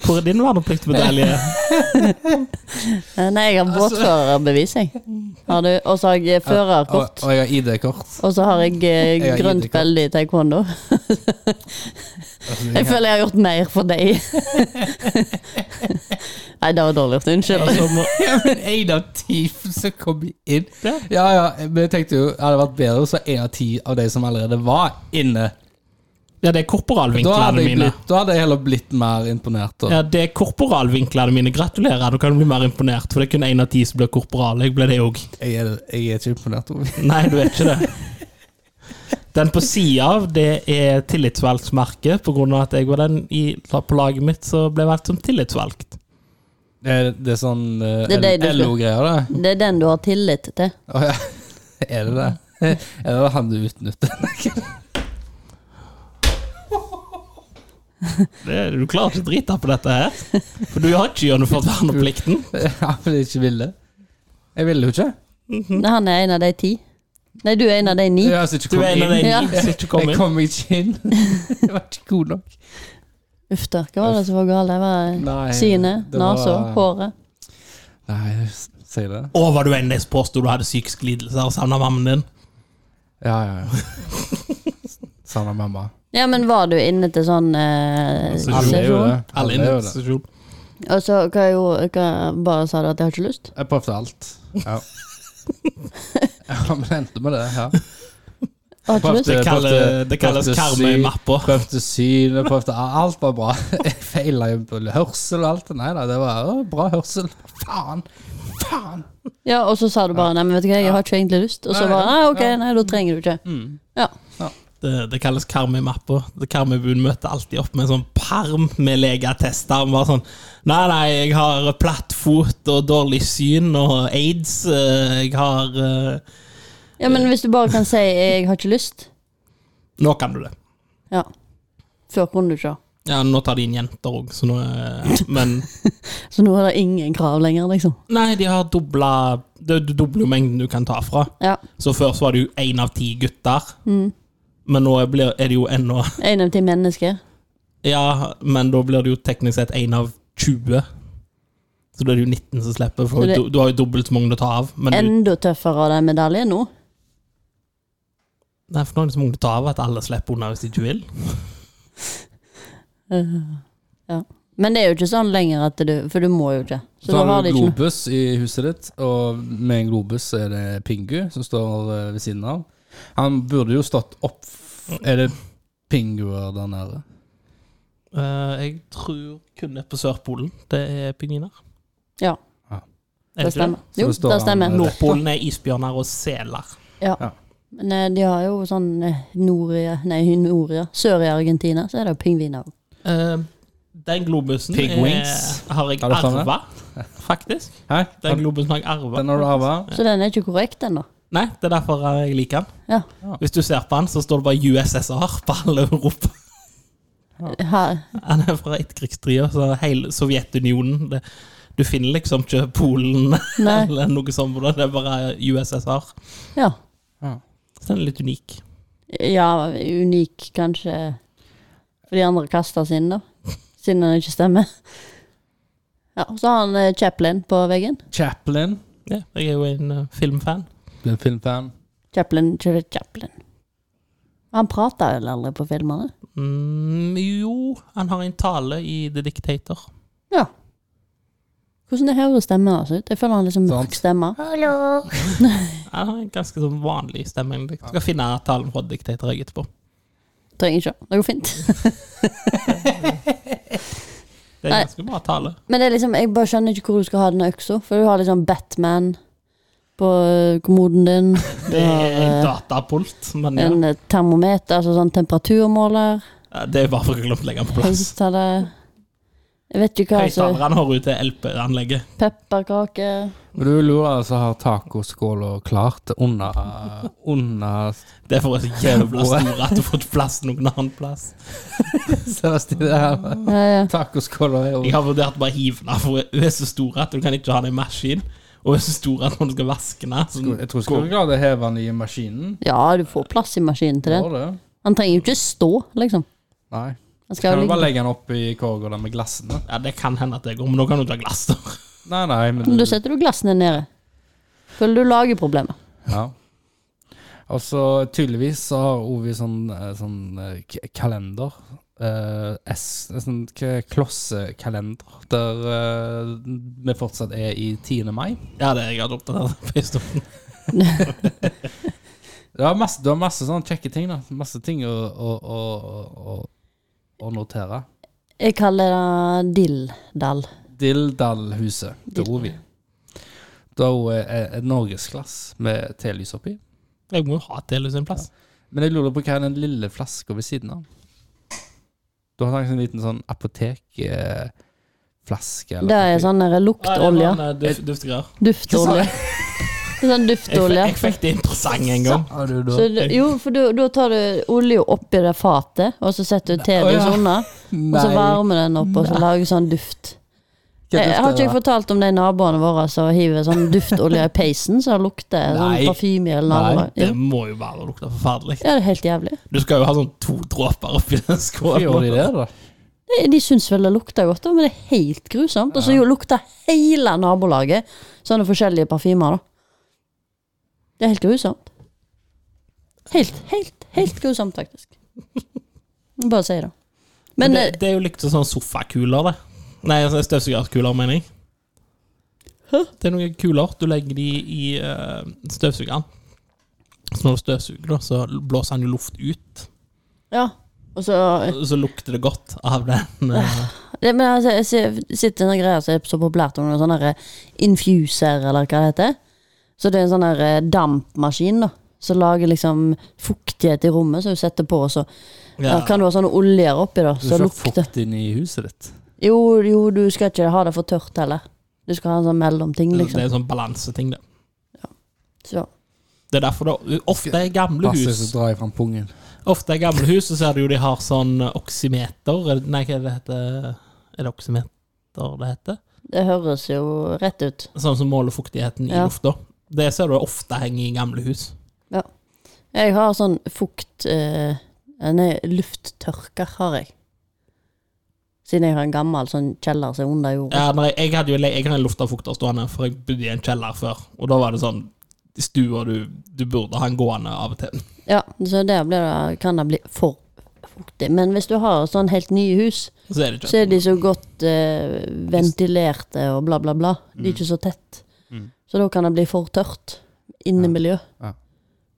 Speaker 1: Hvor er din vernepliktsmedalje?
Speaker 3: Eh, Nei, jeg har båtførerbevis, jeg. Har du? Og så har jeg eh, førerkort.
Speaker 2: Altså- Og, og jeg har ID-kort.
Speaker 3: Og så har jeg eh,
Speaker 2: Jeg har
Speaker 3: grønt
Speaker 2: ID-kort. Altså,
Speaker 3: belte i taekwondo. Jeg føler jeg har gjort mer for deg. Nei, det var dårlig gjort. Unnskyld.
Speaker 1: Altså, må,
Speaker 2: Ja, men én av ti som kom inn. Ja, ja, men jeg tenkte jo det hadde vært bedre hvis det var én av ti av de som allerede var inne.
Speaker 1: ja, det er
Speaker 2: Da hadde
Speaker 1: korporalvinklene
Speaker 2: jeg,
Speaker 1: mine.
Speaker 2: blitt, da hadde jeg heller blitt mer imponert. Da.
Speaker 1: Ja, det er korporalvinklene mine. Gratulerer, du kan bli mer imponert. For det er kun én av ti som blir korporal. Jeg ble det òg.
Speaker 2: Jeg, er, jeg er ikke imponert. Ovi.
Speaker 1: Nei, du er ikke det. Den på sida av, det er tillitsvalgtmerket, på grunn av at jeg var den i, på laget mitt som ble valgt som tillitsvalgt.
Speaker 2: Det er, det er sånn
Speaker 3: Det er deg du
Speaker 2: uh,
Speaker 3: skal-
Speaker 2: LO-greier, det.
Speaker 3: Det er den du har tillit til.
Speaker 2: Å, ja. Er det det? Er det han du utnytter?
Speaker 1: Det, du klarer ikke å drite på dette her. For du har ikke gjennomført verneplikten.
Speaker 2: Ja, men jeg ikke ville. Jeg ville jo ikke. Mhm.
Speaker 3: Nei, Han er en av de ti. Nei, du er en av de ni.
Speaker 2: Jeg, altså, ikke
Speaker 1: Du
Speaker 2: kom
Speaker 1: er en av
Speaker 2: inn.
Speaker 1: de
Speaker 3: Ja.
Speaker 1: ni som ikke kom
Speaker 2: jeg
Speaker 1: inn.
Speaker 2: kom ikke inn. Jeg var ikke god nok.
Speaker 3: Uff da, hva var det som var galt? Det var
Speaker 2: Nei,
Speaker 3: synet,
Speaker 2: det var-
Speaker 3: nesa, håret.
Speaker 2: Nei, si det.
Speaker 1: Å, var du en av de som påsto du hadde psykiske lidelser og savna mammen din?
Speaker 2: Ja, ja, ja. Savner mamma.
Speaker 3: Ja, men var du inne til sånn eh,
Speaker 1: Altså,
Speaker 2: Alle er jo
Speaker 3: sesjon?
Speaker 2: det.
Speaker 1: Alle
Speaker 2: Alle er jo det.
Speaker 1: institusjon.
Speaker 3: Og så hva jo, hva, bare sa du at jeg har ikke lyst?
Speaker 2: Jeg prøvde alt. Ja. ja, men det endte med det. Ja.
Speaker 3: Jeg har ikke
Speaker 2: Prøvde-
Speaker 3: lyst?
Speaker 1: Det kaller-
Speaker 2: prøvde-
Speaker 1: det kalles
Speaker 2: prøvde
Speaker 1: karma i
Speaker 2: syn-
Speaker 1: mappa.
Speaker 2: Prøvde syn, og prøvde alt var bra. Jeg feila jo på hørsel og alt. Nei da, det var å, bra hørsel. Faen! Faen!
Speaker 3: Ja, og så sa du bare nei, men vet du hva, jeg har ikke egentlig lyst. Og så
Speaker 2: Nei,
Speaker 3: bare nei, ok,
Speaker 2: ja. Mm.
Speaker 3: nei, da trenger du ikke. Ja.
Speaker 1: Det, det kalles karmimappa. Karmibuen møter alltid opp med en sånn perm med legeattester. Han var sånn Nei, nei, jeg har platt fot og dårlig syn og aids. eh, Jeg har eh,
Speaker 3: Ja, men hvis du bare kan si 'jeg har ikke lyst',
Speaker 1: Nå kan du det.
Speaker 3: ja. Før kunne du ikke.
Speaker 1: Ja, nå tar de inn jenter òg, så nå eh, Men
Speaker 3: Så nå er det ingen krav lenger, liksom.
Speaker 1: Nei, de har dobla Du du dobler jo mengden du kan ta fra.
Speaker 3: Ja.
Speaker 1: Så før så var det jo én av ti gutter. Men nå blir, er det jo ennå
Speaker 3: En av ti mennesker.
Speaker 1: Ja, men da blir det jo teknisk sett én av 20. Så da er det jo 19 som slipper, for
Speaker 3: Så det-
Speaker 1: du, du har jo dobbelt så mange å ta av. Men du,
Speaker 3: Enda tøffere av den medaljen nå.
Speaker 1: nei, for nå er det så mange å ta av at alle slipper unna hvis de ikke vil.
Speaker 3: Eh, ja. Men det er jo ikke sånn lenger at du For du må jo ikke. Så
Speaker 2: Så
Speaker 3: da
Speaker 2: har
Speaker 3: har
Speaker 2: du
Speaker 3: det ikke noe.
Speaker 2: globus i huset ditt, og med en globus så er det Pingu som står eh, ved siden av. Han burde jo stått opp Er det pinguer der nede?
Speaker 1: Eh, jeg tror kun på Sørpolen det er pingviner.
Speaker 3: Ja,
Speaker 1: Er det
Speaker 3: det
Speaker 1: ikke
Speaker 3: stemmer.
Speaker 1: det?
Speaker 2: Så
Speaker 3: Jo,
Speaker 2: det står
Speaker 3: det stemmer.
Speaker 2: han, eh,
Speaker 1: Nordpolen er isbjørner og seler.
Speaker 3: Men eh, de har jo sånn eh, nord i Nei, i nord i Sør i Argentina så er det jo pingviner òg.
Speaker 1: Eh, den globusen
Speaker 2: Pig wings.
Speaker 1: Er, har jeg
Speaker 2: Har du tatt den?
Speaker 1: arva, faktisk.
Speaker 2: Hæ?
Speaker 1: Den
Speaker 2: Den,
Speaker 1: globusen har jeg arva.
Speaker 2: den har du arva?
Speaker 3: Så den er ikke korrekt ennå.
Speaker 1: Nei, det er derfor jeg liker den.
Speaker 3: Ja.
Speaker 1: Hvis du ser på den, så står det bare USSR på alle Europa.
Speaker 3: Her.
Speaker 1: Han er fra etterkrigstida, så hele Sovjetunionen det, Du finner liksom ikke Polen
Speaker 3: Nei.
Speaker 1: eller noe sånt, på det, det er bare USSR.
Speaker 3: Ja.
Speaker 1: Så den er litt unik.
Speaker 3: Ja, unik kanskje For de andre kaster sin da Siden den ikke stemmer Ja, og så har han eh, Chaplin på veggen
Speaker 2: Chaplin.
Speaker 1: Ja, jeg er jo en eh, filmfan.
Speaker 2: Du er filmfan.
Speaker 3: Chaplin, Charlie Chaplin Han prater vel aldri på filmerne
Speaker 1: Mm, jo, han har en tale i The Dictator.
Speaker 3: Ja Hvordan det hører stemmen hans ut Jeg føler han liksom mørk
Speaker 2: Sant.
Speaker 3: stemme
Speaker 1: Han har en ganske sånn vanlig stemme. egentlig. Jeg skal finne talen fra Dictator jeg etterpå.
Speaker 3: Trenger ikke, det går fint
Speaker 1: Det er en ganske bra tale.
Speaker 3: Men det er liksom, jeg bare skjønner ikke hvor du skal ha den øksa For du har liksom Batman På eh, kommoden din Du
Speaker 1: Det
Speaker 3: har
Speaker 1: er en
Speaker 3: eh,
Speaker 1: datapult, men ja.
Speaker 3: en eh, termometer Altså sånn temperaturmåler
Speaker 1: Ja, Det er bare for å glemme å legge den på plass.
Speaker 3: Høyttaler Jeg vet ikke hva som
Speaker 1: Høyttaleren har ut til LP-anlegget.
Speaker 3: Pepperkake
Speaker 2: Men du lurer altså har tacoskåla klart under, under
Speaker 1: Det er for så jævla stor at du får plass noen annen plass.
Speaker 2: Sebastian, det her.
Speaker 3: ja, ja.
Speaker 2: Tacoskåla er
Speaker 1: Jeg
Speaker 2: jo
Speaker 1: har vurdert bare å hive den, for hun er så stor at du kan ikke ha den i maskin. Og hun er så stor at når du skal vaske den så den
Speaker 2: Jeg tror ikke du klarer å heve den i maskinen.
Speaker 3: ja, du får plass i maskinen til det.
Speaker 2: Går det?
Speaker 3: Han trenger jo ikke stå, liksom.
Speaker 2: Nei.
Speaker 3: Han skal
Speaker 2: Kan du
Speaker 3: jo
Speaker 2: bare legge
Speaker 3: ligge.
Speaker 2: den opp i korga der med glassene?
Speaker 1: Ja, Det kan hende at det går, men nå kan du ta glass der.
Speaker 2: Nei, nei, men
Speaker 3: Men Da setter du glassene nede. Føler du lager problemer.
Speaker 2: Ja. Og så tydeligvis så har Ovi sånn, eh, sånn eh, k- kalender. Eh, S, en sånn k- klossekalender der eh, vi fortsatt er i 10. mai.
Speaker 1: Ja, det er jeg har oppdatert på en stund.
Speaker 2: Du har masse, du har masse sånne kjekke ting. da Masse ting å, å, å, å, å- å notere.
Speaker 3: Jeg kaller det dilldall.
Speaker 2: Dilldalhuset til
Speaker 3: Dill.
Speaker 2: Ovi. Det eh, er hun et norgesglass med telys oppi.
Speaker 1: Jeg må jo ha Telus en plass.
Speaker 2: Men jeg lurer på hva er den lille flaska ved siden av? Du har tenkt en liten sånn apotekflaske?
Speaker 3: Det er sånn der luktolje.
Speaker 1: Duftegreier.
Speaker 2: sånn,
Speaker 3: Duftolje. Det er sånn
Speaker 1: Jeg,
Speaker 3: duftolje.
Speaker 1: jeg fikk det interessant en gang.
Speaker 2: du da?
Speaker 3: Så, du- jo, for du- da tar du olja oppi det fatet, og så setter du telys
Speaker 2: Å, ja.
Speaker 3: under. Og så varmer den opp, og så lager sånn duft. Eh, Jeg, jeg har ikke jeg fortalt om de naboene våre som hiver sånn duftolje i peisen, så det lukter
Speaker 2: Nei.
Speaker 3: sånn parfyme eller noe?
Speaker 2: Nei,
Speaker 3: annet.
Speaker 1: Det
Speaker 3: Jo.
Speaker 1: må jo bare lukte forferdelig.
Speaker 3: Ja, det er helt jævlig.
Speaker 1: Du skal jo ha sånn to dråper oppi den
Speaker 2: Hvorfor gjør de
Speaker 1: skålen.
Speaker 2: det, da?
Speaker 3: De, de syns vel det lukter godt, da, men det er helt grusomt. Og så jo lukter hele nabolaget sånne forskjellige parfymer, da. Det er helt grusomt. Helt, helt, helt grusomt, faktisk. Jeg Bare si det. Men, eh,
Speaker 1: Men det, det er jo likt som sånn sofakuler, det. Nei, sånn støvsugerkuler, mener jeg.
Speaker 3: Hæ?
Speaker 1: Det er noen kuler. Du legger de i eh, støvsugeren. Så når du støvsuger, da, så blåser han jo luft ut.
Speaker 3: eh, ja. Og så eh,
Speaker 1: Så lukter det godt av den. eh,
Speaker 3: det, Men altså, jeg ser- sitter en greie som er så populært om noen sånne her infuser, eller hva det heter. Så det er en sånn her eh, dampmaskin, da. Som lager liksom fuktighet i rommet, så du setter på, og så ja.
Speaker 1: ja.
Speaker 3: kan du ha sånne oljer oppi, da.
Speaker 2: Du
Speaker 3: Så
Speaker 2: får
Speaker 3: lukter
Speaker 2: fukt inn i huset ditt.
Speaker 3: Jo, jo, du skal ikke ha det for tørt heller. Du skal ha en sånn mellomting,
Speaker 1: Det
Speaker 3: liksom.
Speaker 1: er en sånn balanseting, det.
Speaker 3: Så.
Speaker 1: Det er derfor det ofte er gamle
Speaker 2: Passer så
Speaker 1: hus.
Speaker 2: drar jeg fram pungen.
Speaker 1: Ofte er gamle hus, så ser du jo de har sånn oksimeter er det- Nei, hva er det heter? Er det oksimeter det heter?
Speaker 3: Det høres jo rett ut.
Speaker 1: Sånn som måler fuktigheten i
Speaker 3: Ja.
Speaker 1: lufta. Det ser du ofte henger i gamle hus.
Speaker 3: Jeg har sånn fukt... Eh, nei, lufttørker har jeg. Siden jeg har en gammel sånn kjeller som er under jorda.
Speaker 1: Ja, nei, jeg, hadde jo, jeg har en luftavfukter stående, for jeg bodde i en kjeller før. Og da var det sånn i stua du, du burde ha en gående av og til.
Speaker 3: Ja, så der blir det, kan det bli for fuktig. Men hvis du har sånn helt nye hus,
Speaker 1: Så er det ikke
Speaker 3: så er de så godt eh, ventilerte og bla, bla, bla. De er ikke så tett.
Speaker 2: Mm.
Speaker 3: Så da kan det bli for tørt innemiljø.
Speaker 2: Ja.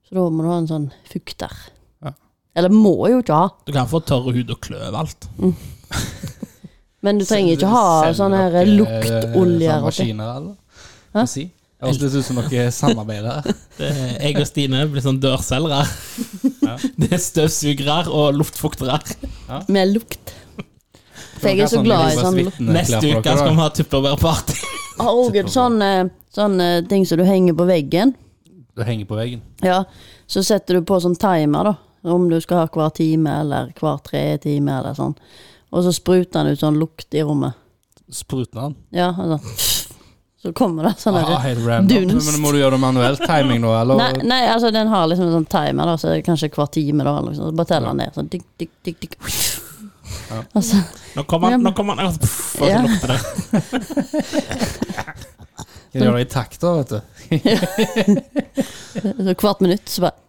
Speaker 3: Så da må du ha en sånn fukter.
Speaker 2: Ja.
Speaker 3: Eller må jo ikke ha,
Speaker 1: Du kan få tørr hud og kløv og alt.
Speaker 3: men du trenger ikke
Speaker 2: Selger
Speaker 3: ha
Speaker 2: dere,
Speaker 3: sånne her
Speaker 2: eh, sånne
Speaker 3: luktoljer. og ting.
Speaker 2: Maskiner, eller?
Speaker 3: Hæ?
Speaker 2: Hva si? Det høres litt ut som dere samarbeider.
Speaker 1: Det, jeg og Stine blir sånn dørselgere.
Speaker 2: Ja.
Speaker 1: Det er støvsugere og luftfuktere.
Speaker 3: Med lukt. For jeg er så glad i sånn lukt.
Speaker 1: Neste uke skal vi ha tupperware-party.
Speaker 3: Å, Gud, sånn, eh, sånn eh, ting som du henger på veggen.
Speaker 2: Det henger på veggen.
Speaker 3: Ja, så setter du på sånn timer, da. Om du skal ha hver time eller hver tredje time eller sånn. Og så spruter han ut sånn lukt i rommet.
Speaker 2: Spruten den.
Speaker 3: Ja, altså. Så kommer det sånn
Speaker 2: Ah,
Speaker 3: derre
Speaker 2: helt random.
Speaker 3: dunst.
Speaker 2: Men må du gjøre det manuelt? Timing nå, eller?
Speaker 3: nei, nei, altså den har liksom en sånn timer, da, så er det kanskje hver time, da. Liksom. Så bare teller han ned. Sånn dikk, dikk, dikk, dikk. Altså,
Speaker 1: Nå kommer han, nå kommer han og så
Speaker 3: Ja.
Speaker 1: lukter det.
Speaker 2: Kan du gjøre det i takt, da, vet du.
Speaker 3: så hvert minutt så bare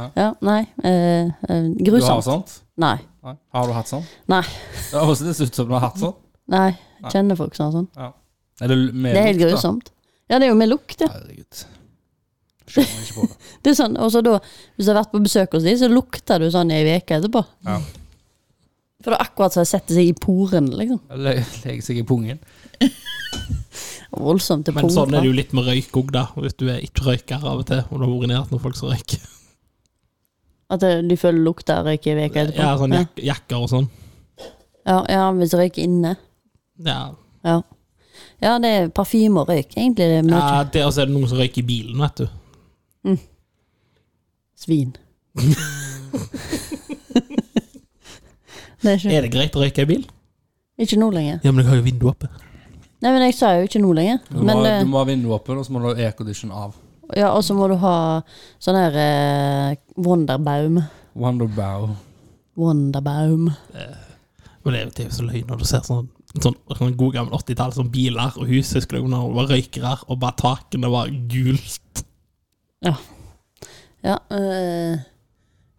Speaker 2: Ja.
Speaker 3: Ja, nei. Eh, eh,
Speaker 2: Du har altså-
Speaker 3: grusomt.
Speaker 2: sånt?
Speaker 3: Nei.
Speaker 2: Nei. Har du hatt sånn?
Speaker 3: Nei.
Speaker 2: Det høres litt ut som du har hatt sånn.
Speaker 3: Nei. Kjenner folk som har sånn.
Speaker 2: Er det, l- med
Speaker 3: Det er helt
Speaker 2: lukt, da?
Speaker 3: grusomt. Ja, det er jo med lukt, ja.
Speaker 2: Herregud. Skjønner ikke på det.
Speaker 3: Det er sånn, og så da, Hvis du har vært på besøk hos dem, så lukter du sånn ei uke etterpå.
Speaker 2: Ja.
Speaker 3: For det er akkurat som det setter seg i porene. liksom.
Speaker 2: Le legger seg i pungen.
Speaker 3: Voldsomt til
Speaker 1: Men
Speaker 3: punkt.
Speaker 1: sånn er
Speaker 3: da.
Speaker 1: det jo litt med røyk òg, da. Hvis du er ikke røyker av og til, og du har urinert når folk som røyker.
Speaker 3: At det- de føler lukter røyk ei uke etterpå.
Speaker 1: Ja, sånn
Speaker 3: ja.
Speaker 1: jak jakker og sånn.
Speaker 3: Ja, ja, hvis du røyker inne.
Speaker 1: Ja.
Speaker 3: Ja. ja, det er parfyme og røyk, egentlig. Det er mye
Speaker 1: ja, det og så er det noen som røyker i bilen, vet du.
Speaker 3: svin. det er ikke,
Speaker 1: Er det greit å røyke i bil?
Speaker 3: ikke nå lenger.
Speaker 1: Ja, men jeg har jo vinduet oppe.
Speaker 3: Nei, men jeg sa jo ikke nå lenger.
Speaker 2: Du må,
Speaker 3: Men, eh,
Speaker 2: du må ha vinduet åpent, og så må du ha aircondition av.
Speaker 3: ja, Og så må du ha sånn her eh, Wonderbaum.
Speaker 2: Wonderbow.
Speaker 3: Wonderbaum.
Speaker 1: Men det er jo- det er jo så løgn når du ser sånn, sånn, sånn god gammel 80-tall, sånn biler og hus. Husker du når det var røykere, og bare takene var gult?
Speaker 3: Ja. eh,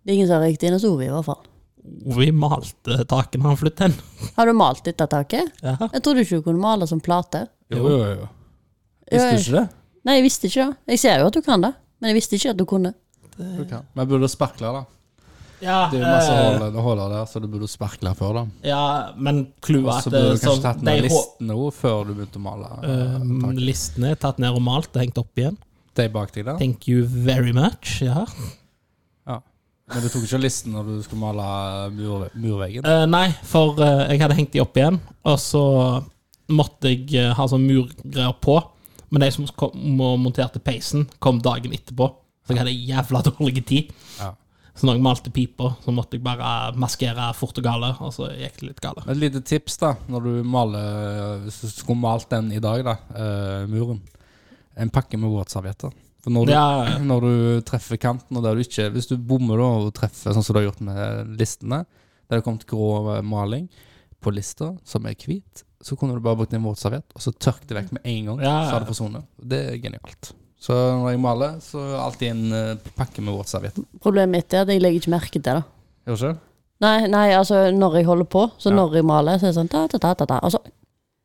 Speaker 3: det er ingen som har røykt dinosaur, i hvert fall.
Speaker 1: Vi malte takene han flyttet hen.
Speaker 3: Har du malt dette taket?
Speaker 1: Ja.
Speaker 3: Jeg trodde ikke du kunne male som plate.
Speaker 2: Jo, jo, jo. Visste du ikke det?
Speaker 3: Nei, jeg visste ikke det. Jeg ser jo at du kan det, men jeg visste ikke at du kunne.
Speaker 2: Du kan. Men burde du sparkle, da?
Speaker 1: Ja,
Speaker 2: Det er jo masse
Speaker 1: eh,
Speaker 2: huller- huller der, så du burde sparkle før, da.
Speaker 1: ja, men clouet
Speaker 2: Og
Speaker 1: at
Speaker 2: så burde
Speaker 1: eh,
Speaker 2: du kanskje
Speaker 1: sånn,
Speaker 2: tatt
Speaker 1: de
Speaker 2: ned
Speaker 1: hå-
Speaker 2: listene òg, før du begynte å male.
Speaker 1: eh,
Speaker 2: taket.
Speaker 1: listene er tatt ned og malt og hengt opp igjen.
Speaker 2: De bak deg der.
Speaker 1: Thank you very much. Ja.
Speaker 2: Men du tok ikke listen når du skulle male eh, mur, murveggen.
Speaker 1: Eh, nei, for eh, jeg hadde hengt de opp igjen, og så måtte jeg eh, ha sånn murgreier på. Men de som kom og monterte peisen, kom dagen etterpå, så jeg hadde jævla dårlig tid.
Speaker 2: Ja.
Speaker 1: Så når jeg malte pipa, så måtte jeg bare maskere fort og gale, og så gikk det litt gale.
Speaker 2: Et lite tips da, når du maler eh, Hvis du skulle malt den i dag, da, eh, muren. En pakke med våtservietter. For når du,
Speaker 1: Ja.
Speaker 2: når du treffer kanten, og der du ikke Hvis du bommer da, og treffer sånn som du har gjort med listene, der det har kommet grå eh, maling på lista, som er hvit, så kunne du bare brukt en våtserviett, og så tørket det vekk med en gang.
Speaker 1: Ja.
Speaker 2: Så har det forsvunnet. Det er genialt. Så når jeg maler, så er det alltid en eh, pakke med våtservietter.
Speaker 3: Problemet mitt er at jeg legger ikke merke til det.
Speaker 2: Gjør du ikke?
Speaker 3: Nei, nei, altså når jeg holder på, så
Speaker 2: Ja.
Speaker 3: når jeg maler, så er det sånn ta, ta, ta, ta, ta. Altså,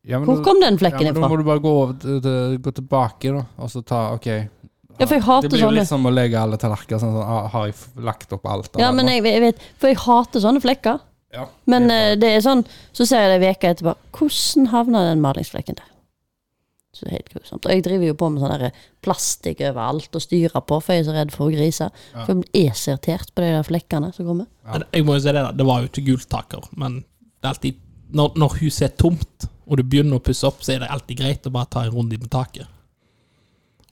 Speaker 2: Ja, men
Speaker 3: hvor
Speaker 2: da-
Speaker 3: kom den
Speaker 2: Ja,
Speaker 3: flekken
Speaker 2: men da må
Speaker 3: ifra?
Speaker 2: du bare gå, over, til- til- gå tilbake da, og så ta OK.
Speaker 3: Ja, for jeg
Speaker 2: Det
Speaker 3: hater
Speaker 2: blir jo
Speaker 3: sånne
Speaker 2: litt som å legge alle tallerkener sånn. sånn ah, har jeg f- lagt opp alt? av
Speaker 3: Ja,
Speaker 2: det,
Speaker 3: men
Speaker 2: da?
Speaker 3: jeg, jeg vet For jeg hater sånne flekker.
Speaker 2: Ja,
Speaker 3: Men
Speaker 2: det er
Speaker 3: eh, det er sånn, så ser jeg det veka etterpå. Hvordan havna den malingsflekken der? Så det er helt grusomt. Og jeg driver jo på med sånn derre plastikk overalt og styrer på, for jeg er så redd for å grise. For jeg er så irritert på de der flekkene som kommer.
Speaker 1: Men Jeg må jo si det, da. Det var jo ikke gult taker, men det er alltid når, når huset er tomt, og du begynner å pusse opp, så er det alltid greit å bare ta en runde inn på taket.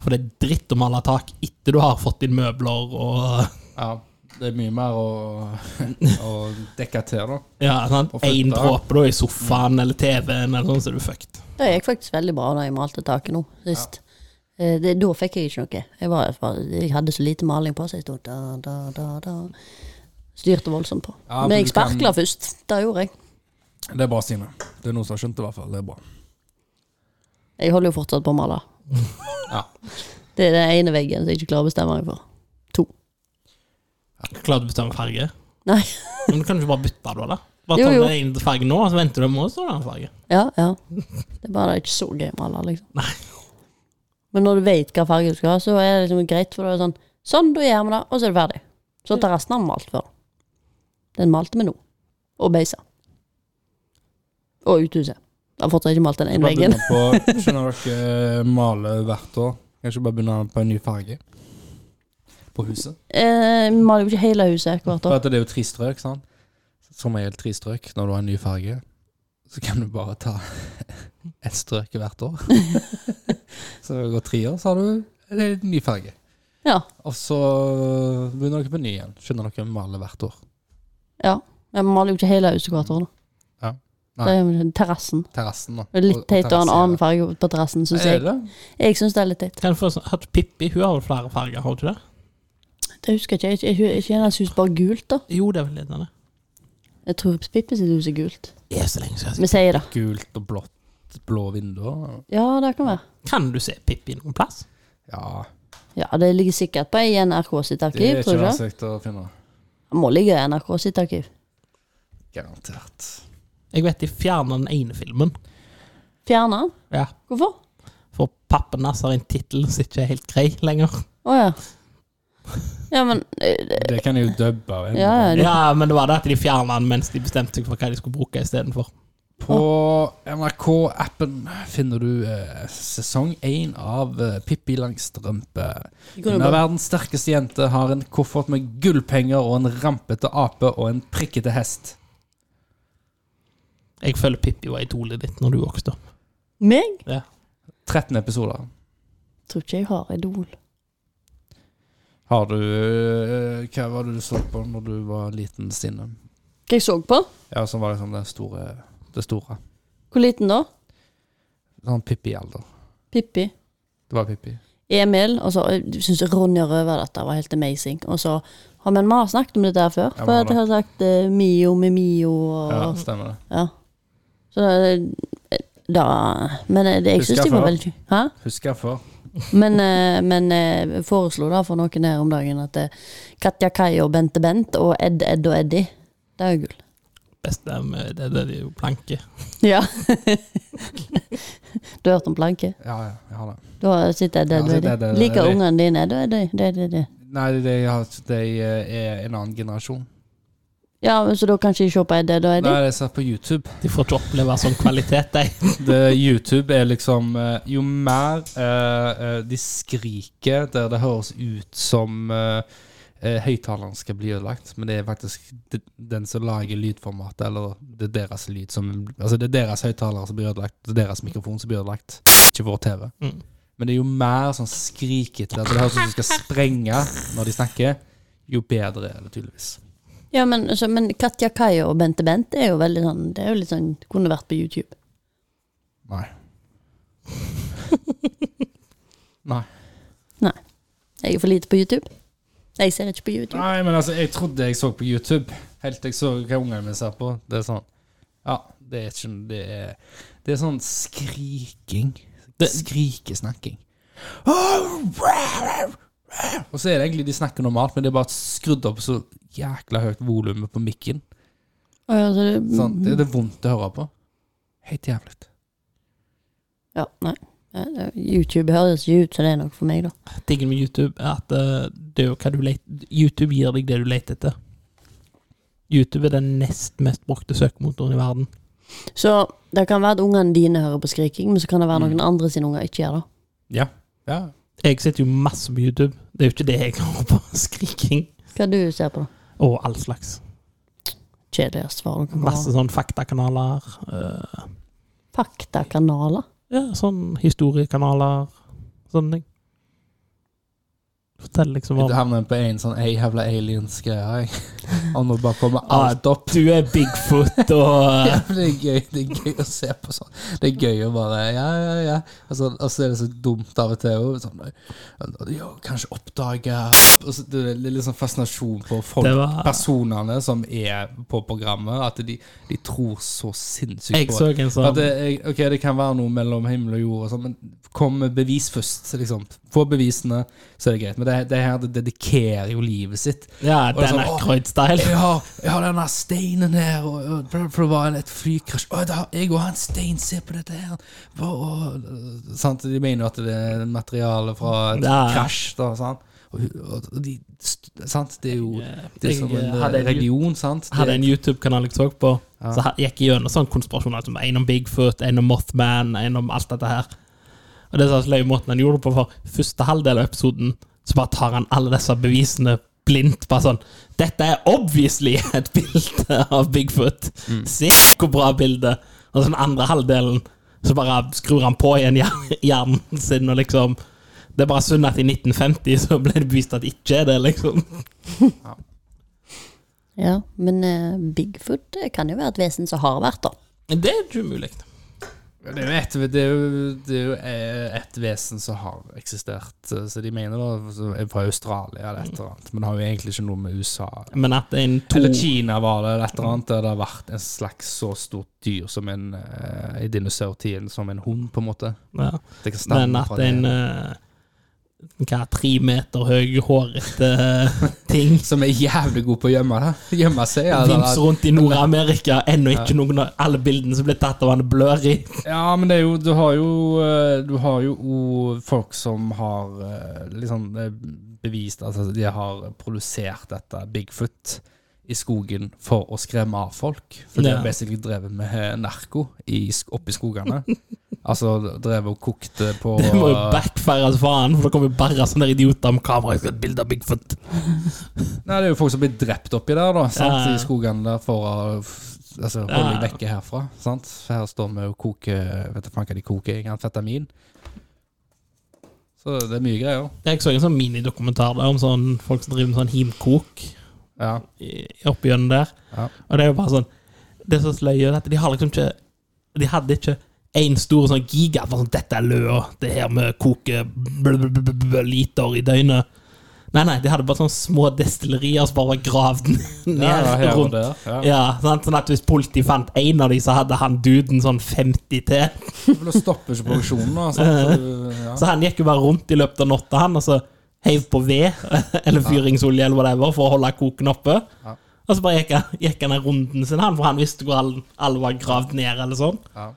Speaker 1: For det er dritt å male tak etter du har fått inn møbler og
Speaker 2: Ja, det er mye mer å, å dekke til, da.
Speaker 1: Ja, sant?
Speaker 2: Og flytte.
Speaker 1: En dråpe da i sofaen eller TV-en, eller sånn, så er du fucked.
Speaker 3: Det gikk faktisk veldig bra da jeg malte taket nå sist. Eh, Det, da fikk jeg ikke noe. Jeg, var, bare- jeg hadde så lite maling på, så jeg sto da, da, da, da. Styrte voldsomt på.
Speaker 2: Ja,
Speaker 3: Men
Speaker 2: men
Speaker 3: jeg
Speaker 2: du kan-
Speaker 3: sparkla først. Det gjorde jeg.
Speaker 2: Det er bra, Stine. Det er noen som har skjønt det, i hvert fall. Det er bra.
Speaker 3: Jeg holder jo fortsatt på å male.
Speaker 2: Ja.
Speaker 3: Det er den ene veggen som jeg ikke klarer å bestemme meg for. To.
Speaker 1: Klarer du å bestemme farge?
Speaker 3: Nei.
Speaker 1: Men du kan ikke bare bytte da, da? Bare
Speaker 3: Jo,
Speaker 1: ta
Speaker 3: jo.
Speaker 1: den ene fargen nå, og så venter du en måned, så er det en annen farge.
Speaker 3: Ja, ja. Det er bare det er ikke så gøy å male, liksom.
Speaker 1: Nei.
Speaker 3: Men når du vet hva farge du skal ha, så er det liksom greit, for da er det sånn Sånn, da gjør vi det, og så er det ferdig. Så tar resten av den malt før. Den malte vi nå. Og beisa. Og uthuset. Jeg har fortsatt ikke malt den ene
Speaker 2: Bare
Speaker 3: veggen.
Speaker 2: begynne på Skjønner dere maler hvert år? Kanskje bare begynne på en ny farge? På huset?
Speaker 3: Eh, vi maler jo ikke hele huset hvert
Speaker 2: For
Speaker 3: år.
Speaker 2: at det er jo tre strøk, sant? Som er helt tre strøk når du har en ny farge. Så kan du bare ta ett strøk hvert år. så det går tre år, så har du en ny farge.
Speaker 3: Ja.
Speaker 2: Og så begynner dere på ny igjen. Skjønner dere maler hvert år.
Speaker 3: ja. Men Vi maler jo ikke hele huset hvert år, da.
Speaker 2: Ja. Nei.
Speaker 3: Det er jo terrassen.
Speaker 2: Terrassen, da.
Speaker 3: Det er litt teit å ha en annen farge på terrassen, syns
Speaker 2: Er
Speaker 3: jeg.
Speaker 2: det?
Speaker 3: Jeg syns det er litt teit.
Speaker 1: Kan jeg få sånn, Hatt Pippi, hun har vel flere farger, har hun ikke det?
Speaker 3: Det husker jeg ikke. Er ikke hennes hus bare gult, da?
Speaker 1: Jo, det er vel ledende.
Speaker 3: Jeg tror Pippe sitt hus er gult.
Speaker 1: Det er så lenge siden.
Speaker 3: Vi sier det.
Speaker 2: Gult og blått, blå vinduer.
Speaker 3: Ja, det kan være.
Speaker 1: Kan du se Pippi noen plass?
Speaker 2: Ja,
Speaker 3: Ja, Det ligger sikkert på i NRK sitt
Speaker 2: det altså. er
Speaker 3: arkiv, tror
Speaker 2: ikke
Speaker 3: du ikke?
Speaker 2: vanskelig å finne.
Speaker 3: Det må ligge i NRK sitt arkiv.
Speaker 2: Garantert.
Speaker 1: Jeg vet de fjerna den ene filmen.
Speaker 3: Fjerne den?
Speaker 1: Ja.
Speaker 3: Hvorfor?
Speaker 1: For pappen hans har en tittel som ikke er helt grei lenger.
Speaker 3: Å ja. Ja, men eh,
Speaker 2: Det kan jeg jo dubbe av. en.
Speaker 3: Ja, ja. det-
Speaker 1: Ja, men det var det at de fjerna den mens de bestemte seg for hva de skulle bruke istedenfor.
Speaker 2: På NRK-appen finner du eh, sesong én av eh, Pippi Langstrømpe.
Speaker 3: det går jo
Speaker 2: Denne
Speaker 3: bra.
Speaker 2: verdens sterkeste jente har en koffert med gullpenger og en rampete ape og en prikkete hest.
Speaker 1: Jeg føler Pippi var idolet ditt når du vokste opp.
Speaker 3: Meg?
Speaker 2: 13 episoder.
Speaker 3: Tror ikke jeg har Idol.
Speaker 2: Har du eh, Hva var det du så på når du var liten, Stine?
Speaker 3: Hva jeg så på?
Speaker 2: Ja, som var liksom det store. Det store.
Speaker 3: Hvor liten da?
Speaker 2: Sånn Pippi-alder.
Speaker 3: Pippi.
Speaker 2: Det var Pippi.
Speaker 3: Emil. Og så jeg syns Ronja Røverdatter var helt amazing. Og så har Men vi har snakket om dette her før.
Speaker 2: Ja,
Speaker 3: For
Speaker 2: vi har
Speaker 3: jeg har sagt eh, Mio med Mio og
Speaker 2: Ja, stemmer det.
Speaker 3: Ja. Så eh, da Men eh, det, jeg
Speaker 2: Husker
Speaker 3: syns de
Speaker 2: jeg
Speaker 3: var
Speaker 2: før.
Speaker 3: veldig kule. Hæ?
Speaker 2: Husker jeg før.
Speaker 3: Men, eh, men eh, foreslo da for noen her om dagen at eh, Katja Kai og Bente Bent og Ed Ed og Eddie, det er jo gull.
Speaker 1: Beste med det, det er jo planke.
Speaker 3: Ja. du har hørt om Planke?
Speaker 2: Ja, ja, jeg har det.
Speaker 3: Du har sett Ed
Speaker 2: Ja,
Speaker 3: Ed og
Speaker 2: sett Ed,
Speaker 3: Eddie?
Speaker 2: Ed og
Speaker 3: Liker
Speaker 2: Eddie.
Speaker 3: ungene dine Ed og Eddie? Det, det, det.
Speaker 2: Nei, de, har- de eh, er en annen generasjon.
Speaker 3: Ja, men så da kan ikke jeg se på Ed Ed og Eddie?
Speaker 2: Nei, jeg ser på YouTube.
Speaker 1: De får ikke oppleve sånn kvalitet, de.
Speaker 2: Det, YouTube er liksom eh, Jo mer eh, eh, de skriker der det høres ut som eh, eh, høyttaleren skal bli ødelagt, men det er faktisk de, den som lager lydformatet, eller det er deres lyd som Altså det er deres høyttaler som blir ødelagt, det er deres mikrofon som blir ødelagt, ikke vår TV.
Speaker 1: Mm.
Speaker 2: Men det er jo mer sånn skrikete, at det høres ut som de skal sprenge når de snakker, jo bedre er det tydeligvis.
Speaker 3: Ja, men, så, men Katja Kai og Bente Bent er jo veldig sånn Det er jo litt sånn Kunne vært på YouTube.
Speaker 2: Nei. Nei.
Speaker 3: Jeg er for lite på YouTube. Jeg ser ikke på YouTube.
Speaker 2: Nei, men altså, jeg trodde jeg så på YouTube. Helt til jeg så hva ungene mine ser på. Det er sånn Ja, det er ikke Det er, det er sånn skriking.
Speaker 1: Det-
Speaker 2: Skrikesnakking. Og så er det egentlig de snakker normalt, men det er bare skrudd opp så jækla høyt volumet på mikken.
Speaker 3: Å, ja, så det,
Speaker 2: Sånn, det, det er vondt å høre på. Helt jævlig.
Speaker 3: Ja, nei. Eh, eh, YouTube høres jo ut som det er nok for meg, da.
Speaker 1: Tingen med YouTube er at eh, det er jo hva du leter YouTube gir deg det du leter etter. YouTube er den nest mest brukte søkemotoren i verden.
Speaker 3: Så det kan være at ungene dine hører på skriking, men så kan det være noen
Speaker 2: Mm.
Speaker 3: andre sine unger ikke gjør det.
Speaker 2: Ja. ja.
Speaker 1: Jeg sitter jo masse på YouTube. Det er jo ikke det jeg hører på. Skriking
Speaker 3: Hva du ser på, da?
Speaker 1: og all slags.
Speaker 3: Kjedeligst svar du kan få.
Speaker 1: Masse sånn faktakanaler. eh,
Speaker 3: Faktakanaler?
Speaker 1: ja, sånn historiekanaler. Sånne ting. Fortell liksom om
Speaker 2: Du havner på en sånn ei jævla aliens-greie. Og nå bare kommer alt opp.
Speaker 1: Du er Bigfoot og eh,
Speaker 2: Ja, men det er gøy Det er gøy å se på sånn. Det er gøy å bare Ja, ja, ja. Og så, og så er det så dumt av og til òg. Sånn, ja, kanskje oppdage og så, Det er litt sånn fascinasjon på folk,
Speaker 1: Det var-
Speaker 2: personene som er på programmet, at de, de tror så sinnssykt
Speaker 1: Jeg
Speaker 2: på
Speaker 1: så en
Speaker 2: at
Speaker 1: sånn
Speaker 2: det, er- ok, det kan være noe mellom himmel og jord, og sånn, men kom med bevis først. Liksom. Få bevisene, så er det greit. Men det, det her det dedikerer jo livet sitt.
Speaker 1: Ja,
Speaker 2: det er
Speaker 1: Dan
Speaker 2: sånn, «Åh,
Speaker 1: Aykroyd-style.
Speaker 2: Jeg har, jeg har denne steinen her, og, og for- for det var en- et flykrasj Å, da har jeg òg en stein, se på dette her! Hva- og, øh, sant? De mener jo at det er materiale fra et
Speaker 1: Ja.
Speaker 2: krasj, da, sant? Og, og de, st- sant? Det er jo det er
Speaker 1: Jeg,
Speaker 2: som
Speaker 1: eh,
Speaker 2: en
Speaker 1: hadde en
Speaker 2: eh, region, sant?
Speaker 1: Jeg hadde en
Speaker 2: Det,
Speaker 1: YouTube-kanal jeg så på, så ha- gikk jeg gjennom sånne konspirasjoner. Som en om Bigfoot, en om Mothman, en om alt dette her. Og det er så løy måten han gjorde det på, for første halvdel av episoden så bare tar han alle disse bevisene blindt. Bare sånn Dette er obviously et bilde av Bigfoot! Se hvor bra bilde! Og så den andre halvdelen, så bare skrur han på igjen hjer- hjernen sin og liksom Det er bare synd at i 1950 så ble det bevist at det ikke er det, liksom.
Speaker 3: Ja, men eh, Bigfoot eh, kan jo være et vesen som har vært, da.
Speaker 1: Men det er ikke umulig.
Speaker 2: det er jo et, det er jo, det er jo eh, et vesen som har eksistert, eh, så de mener da så er fra Australia eller et eller annet. Men det har jo egentlig ikke noe med USA
Speaker 1: Men at en to
Speaker 2: Eller Kina var det, eller et eller annet, der det har vært en slags så stort dyr som en eh, i dinosaurtiden, som en hund, på en måte.
Speaker 1: ja.
Speaker 2: Det kan stemme
Speaker 1: Men
Speaker 2: fra
Speaker 1: at
Speaker 2: det.
Speaker 1: en eh, hva, tre meter høy, hårete ting
Speaker 2: Som er jævlig god på å gjemme det. Gjemme seg. Eller,
Speaker 1: vimser rundt i Nord-Amerika, ennå ikke noen av alle bildene som ble tatt av han, er blurry.
Speaker 2: ja, men det er jo Du har jo eh, Du har jo o- folk som har eh, liksom eh, bevist at de har produsert dette Bigfoot i skogen for å skremme av folk. For de
Speaker 1: Ja.
Speaker 2: har basically drevet med narko i, sk- oppe i skogene. altså drevet og kokte på
Speaker 1: Det må jo backfire som faen, for det kommer jo bare sånne idioter med kamera. Jeg skal ha et bilde av Bigfoot.
Speaker 2: Nei, det er jo folk som blir drept oppi der, da.
Speaker 1: Ja,
Speaker 2: Sant?
Speaker 1: ja.
Speaker 2: I skogene der for å f- altså, holde
Speaker 1: Ja, ja.
Speaker 2: dem vekke herfra. Sant? For Her står vi og koker Vet du faen hva de koker? jeg, Amfetamin. Så det er mye greier.
Speaker 1: Jeg så en sånn minidokumentar der om sånn, folk som driver med sånn himkok.
Speaker 2: Ja.
Speaker 1: i- oppi gjennom der.
Speaker 2: Ja.
Speaker 1: Og det er jo bare sånn Det er så sløye at de har liksom ikke De hadde ikke én stor sånn giga for sånn, 'Dette er løa. Det er her vi koker bl- bl- bl- bl- liter i døgnet.' Nei, nei, de hadde bare sånne små destillerier som bare var gravd ned
Speaker 2: Ja, ja, her og
Speaker 1: rundt.
Speaker 2: der. Ja.
Speaker 1: Ja, sant? Sånn at hvis politiet fant én av de, så hadde han duden sånn 50 til.
Speaker 2: For det stopper ikke produksjonen, da. Sant? Så, ja.
Speaker 1: Så han gikk jo bare rundt i løpet av natta, han, og så heiv på ved eller fyringsolje eller whatever for å holde koken oppe.
Speaker 2: Ja.
Speaker 1: Og så bare gikk han, gikk han den runden sin, han, for han visste hvor alle alle var gravd ned eller sånn.
Speaker 2: Ja.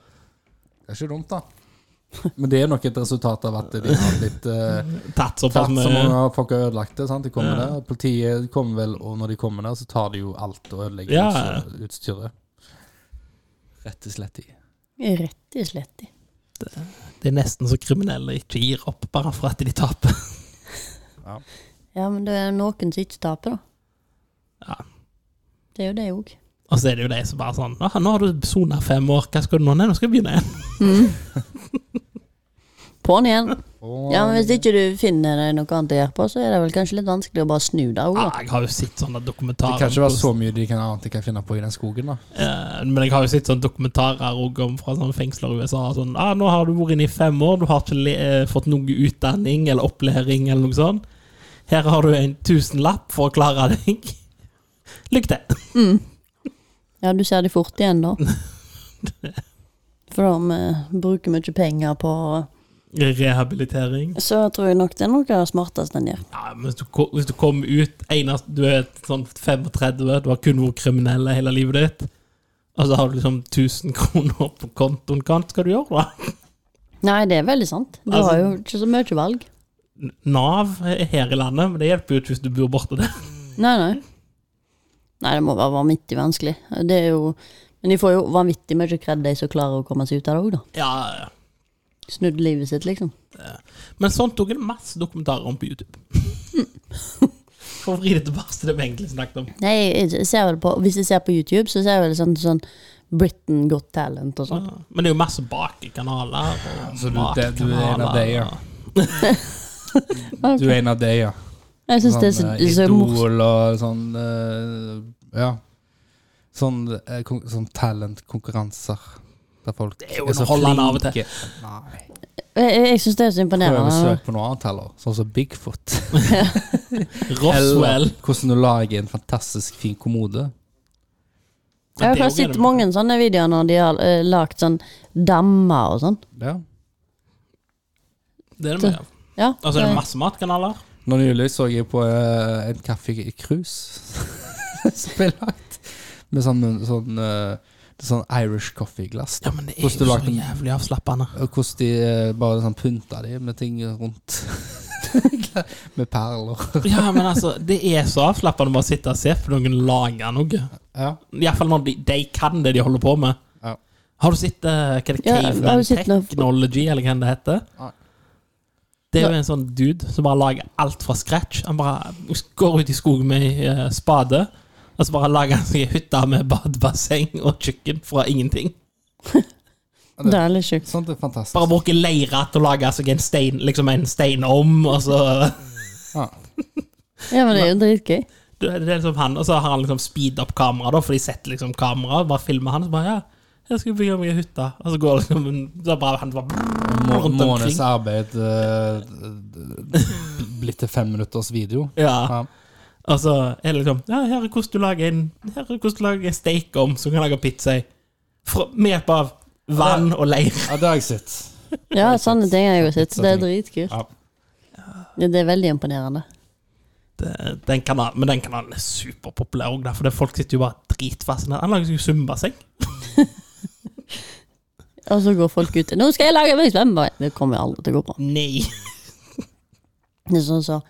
Speaker 2: Det er ikke dumt, da. Men det er nok et resultat av at de har blitt eh,
Speaker 1: Tatt såpass
Speaker 2: tatt så mange
Speaker 1: med
Speaker 2: av folk har ødelagt det. sant? De kommer der, og Politiet kommer vel, og når de kommer der, så tar de jo alt og ødelegger
Speaker 1: Ja.
Speaker 2: utstyr- utstyret. Rett og slett. i.
Speaker 3: Rett i slett. i.
Speaker 1: Det er nesten så kriminelle ikke gir opp bare for at de taper.
Speaker 3: Ja, men det er noen som ikke taper, da.
Speaker 1: Ja.
Speaker 3: Det er jo det òg.
Speaker 1: Og så er det jo de som bare sånn «Ah, 'Nå har du sona fem år, hva skal du nå?' Nei, nå skal jeg begynne igjen.
Speaker 3: På'n igjen.
Speaker 2: Og-
Speaker 3: Ja, men Hvis ikke du finner deg noe annet å gjøre på, så er det vel kanskje litt vanskelig å bare snu deg òg,
Speaker 1: Ah,
Speaker 3: da.
Speaker 1: jeg har jo sett sånne
Speaker 2: Det
Speaker 1: dokumentarer
Speaker 2: kan ikke være
Speaker 1: om
Speaker 2: så mye de kan annet de kan finne på i den skogen, da.
Speaker 1: Eh, Men jeg har jo sett sånne dokumentarer og om fra sånne fengsler i USA. Sånn, ah, 'Nå har du vært inne i fem år, du har ikke le eh, fått noe utdanning eller opplæring.' eller noe sånt. 'Her har du en tusenlapp for å klare deg. Lykke til.'
Speaker 3: Ja, du ser de fort igjen, da. For de eh, bruker mye penger på
Speaker 1: Rehabilitering.
Speaker 3: Så tror jeg nok det er noe av det smarteste en gjør.
Speaker 1: Ja, men hvis du, ko- hvis du kommer ut enest, Du er et sånn 35, du har kun vært kriminell hele livet ditt. Og så har du liksom 1000 kroner på kontoen. Hva annet skal du gjøre, da?
Speaker 3: Nei, det er veldig sant. Du
Speaker 1: Altså-
Speaker 3: har jo ikke så mye valg.
Speaker 1: N- Nav er her i landet, men det hjelper jo ikke hvis du bor borte der.
Speaker 3: Nei, nei. Nei, det må bare være vanvittig vanskelig. Det er jo Men de får jo vanvittig mye kred, de som klarer å komme seg ut av det òg, da.
Speaker 1: Ja, ja.
Speaker 3: Snudd livet sitt, liksom.
Speaker 1: Men sånt tok jeg masse dokumentarer om på YouTube. For å vri det tilbake til det vi egentlig snakket om.
Speaker 3: Nei, jeg ser vel på Hvis jeg ser på YouTube, så ser jeg vel sånn, sånn Britain Got Talent og sånn.
Speaker 1: Men det er jo masse bakekanaler. og
Speaker 2: Så du, det, du er en av
Speaker 1: matkanaler.
Speaker 2: de, ja. Du er en av de, ja.
Speaker 3: Jeg syns det er så,
Speaker 2: Sånn, eh,
Speaker 3: det er så morsomt.
Speaker 2: Idol og sånn eh, Ja. Sånn, eh, kon- sånn talentkonkurranser der folk
Speaker 1: Det er jo underholdende av og til.
Speaker 2: Nei.
Speaker 3: Jeg, jeg- jeg syns det er så
Speaker 2: Prøv å
Speaker 3: imponerende.
Speaker 2: søke på noe annet heller, sånn som Bigfoot.
Speaker 1: Roswell.
Speaker 2: Eller hvordan du lager en fantastisk fin kommode.
Speaker 3: Jeg har sett mange sånne videoer når de har eh, lagd sånn dammer og sånn.
Speaker 2: Ja.
Speaker 1: Det er det mye av.
Speaker 3: Ja,
Speaker 1: Og så Altså, er det
Speaker 3: det-
Speaker 1: masse matkanaler.
Speaker 2: Nå nylig så jeg på eh, en kaffe i krus som ble lagt med sånn, sånn, eh, sånn Irish coffee-glass. da.
Speaker 1: Ja, men det
Speaker 2: er jo så
Speaker 1: jævlig avslappende.
Speaker 2: Og hvordan de eh, bare sånn pynta de med ting rundt. med perler.
Speaker 1: Ja, men altså, det er så avslappende bare å sitte og se på noen lage noe.
Speaker 2: Ja.
Speaker 1: Iallfall når de, de kan det de holder på med.
Speaker 2: Ja.
Speaker 1: Har du sett eh, hva det
Speaker 3: Ja, har
Speaker 1: Caveman
Speaker 3: du sett noe-
Speaker 1: Technology, eller hva det heter?
Speaker 2: Nei.
Speaker 1: Det er jo en sånn dude som bare lager alt fra scratch. Han bare går ut i skogen med ei eh, spade, og så bare lager han seg ei hytte med badebasseng og kjøkken fra ingenting.
Speaker 3: Det er litt sjukt.
Speaker 2: Sånt er fantastisk.
Speaker 1: Bare bruker leire til å lage seg en stein, liksom en steinovn, og så
Speaker 2: Ja.
Speaker 3: Ja, men det er jo dritgøy.
Speaker 1: det er liksom han, Og så har han liksom speed up kamera, da, for de setter liksom kamera, bare filmer han, og så bare ja, jeg skal bygge meg ei hytte. Og så går det liksom Så er bare han bare
Speaker 2: Må,
Speaker 1: rundt omkring.
Speaker 2: måneds arbeid eh, d- d- blitt til fem minutters video.
Speaker 1: Ja.
Speaker 2: Ja.
Speaker 1: Og så er det liksom Ja, her er hvordan du lager en Her er hvordan du lager en stekeovn som kan lage pizza i. Fra- Med hjelp av vann og leir.
Speaker 2: Ja, det har jeg sett.
Speaker 3: Ja, sånne ting har jeg jo sett. Det er dritkult.
Speaker 2: Ja.
Speaker 3: Ja, det er veldig imponerende.
Speaker 1: Det- Den kanalen, men den kanalen er superpopulær òg, for det folk sitter jo bare dritfascinert. Han lager seg jo zumbasseng.
Speaker 3: Og så går folk ut 'Nå skal jeg lage meg svømmebad!' Det kommer jo aldri til å gå bra.
Speaker 1: Nei.
Speaker 3: Det er sånn så.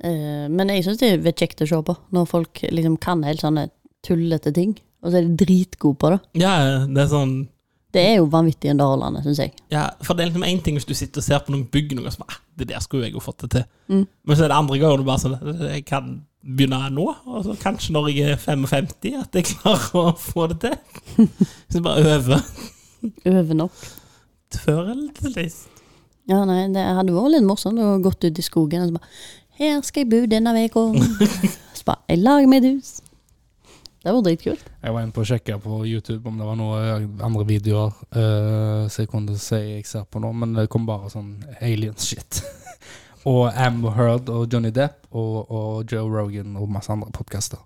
Speaker 3: eh, men jeg syns det er kjekt å se på, når folk liksom kan helt sånne tullete ting. Og så er de dritgode på det.
Speaker 1: Ja, det er sånn
Speaker 3: Det er jo vanvittig underholdende, syns jeg.
Speaker 1: Ja, for det er liksom én ting hvis du sitter og ser på noen bygg noe som ah, det der skulle jeg jo fått det til.
Speaker 2: Mm.
Speaker 1: Men så er det andre ganger du bare sånn Jeg kan begynne nå, og så kanskje når jeg er 55 at jeg klarer å få det til. Så bare øve.
Speaker 3: Øve nok.
Speaker 1: Før eller til sist.
Speaker 3: Ja, nei, det hadde vært litt morsomt å gå ut i skogen og så bare 'Her skal jeg bo denne uka.' Så bare 'Jeg lager meg et hus'. Det var dritkult.
Speaker 2: Jeg var inne på å sjekke på YouTube om det var noen andre videoer eh, som jeg kunne si jeg ser på nå, men det kom bare sånn alien-shit. og Amber Heard og Johnny Depp og, og Joe Rogan og masse andre podkaster.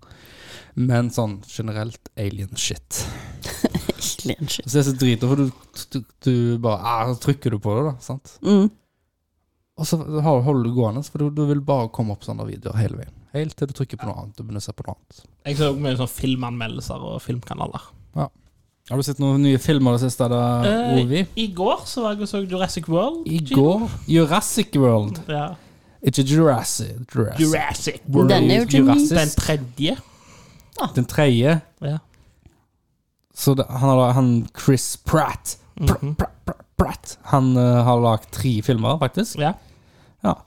Speaker 2: Men sånn generelt alien-shit.
Speaker 3: Skikkelig en shit.
Speaker 2: Så det er så drita, for du, du, du bare ah, så trykker du på det, da. sant?
Speaker 3: Mm.
Speaker 2: Og så har- holder du gående, for du, du vil bare komme opp sånne videoer hele veien. Helt til du trykker på noe annet og begynner å se på noe annet.
Speaker 1: Jeg så mye sånn filmanmeldelser og filmkanaler.
Speaker 2: Har du sett noen nye filmer det siste, da,
Speaker 1: Eh,
Speaker 2: Ovi?
Speaker 1: I går så var jeg og så Jurassic World.
Speaker 2: I går Jurassic World.
Speaker 1: Ja.
Speaker 2: Ikke Jurassic. Jurassic.
Speaker 1: Jurassic World.
Speaker 3: World. Den er jo ikke ny.
Speaker 1: Den
Speaker 2: Jurassic.
Speaker 1: tredje.
Speaker 2: Den tredje.
Speaker 1: Ja.
Speaker 2: Så det, han, har, han Chris Pratt Pr-
Speaker 1: Mhm.
Speaker 2: Pr- Pr- Pratt. Han eh, har lagd tre filmer, faktisk.
Speaker 1: Ja.
Speaker 2: Ja.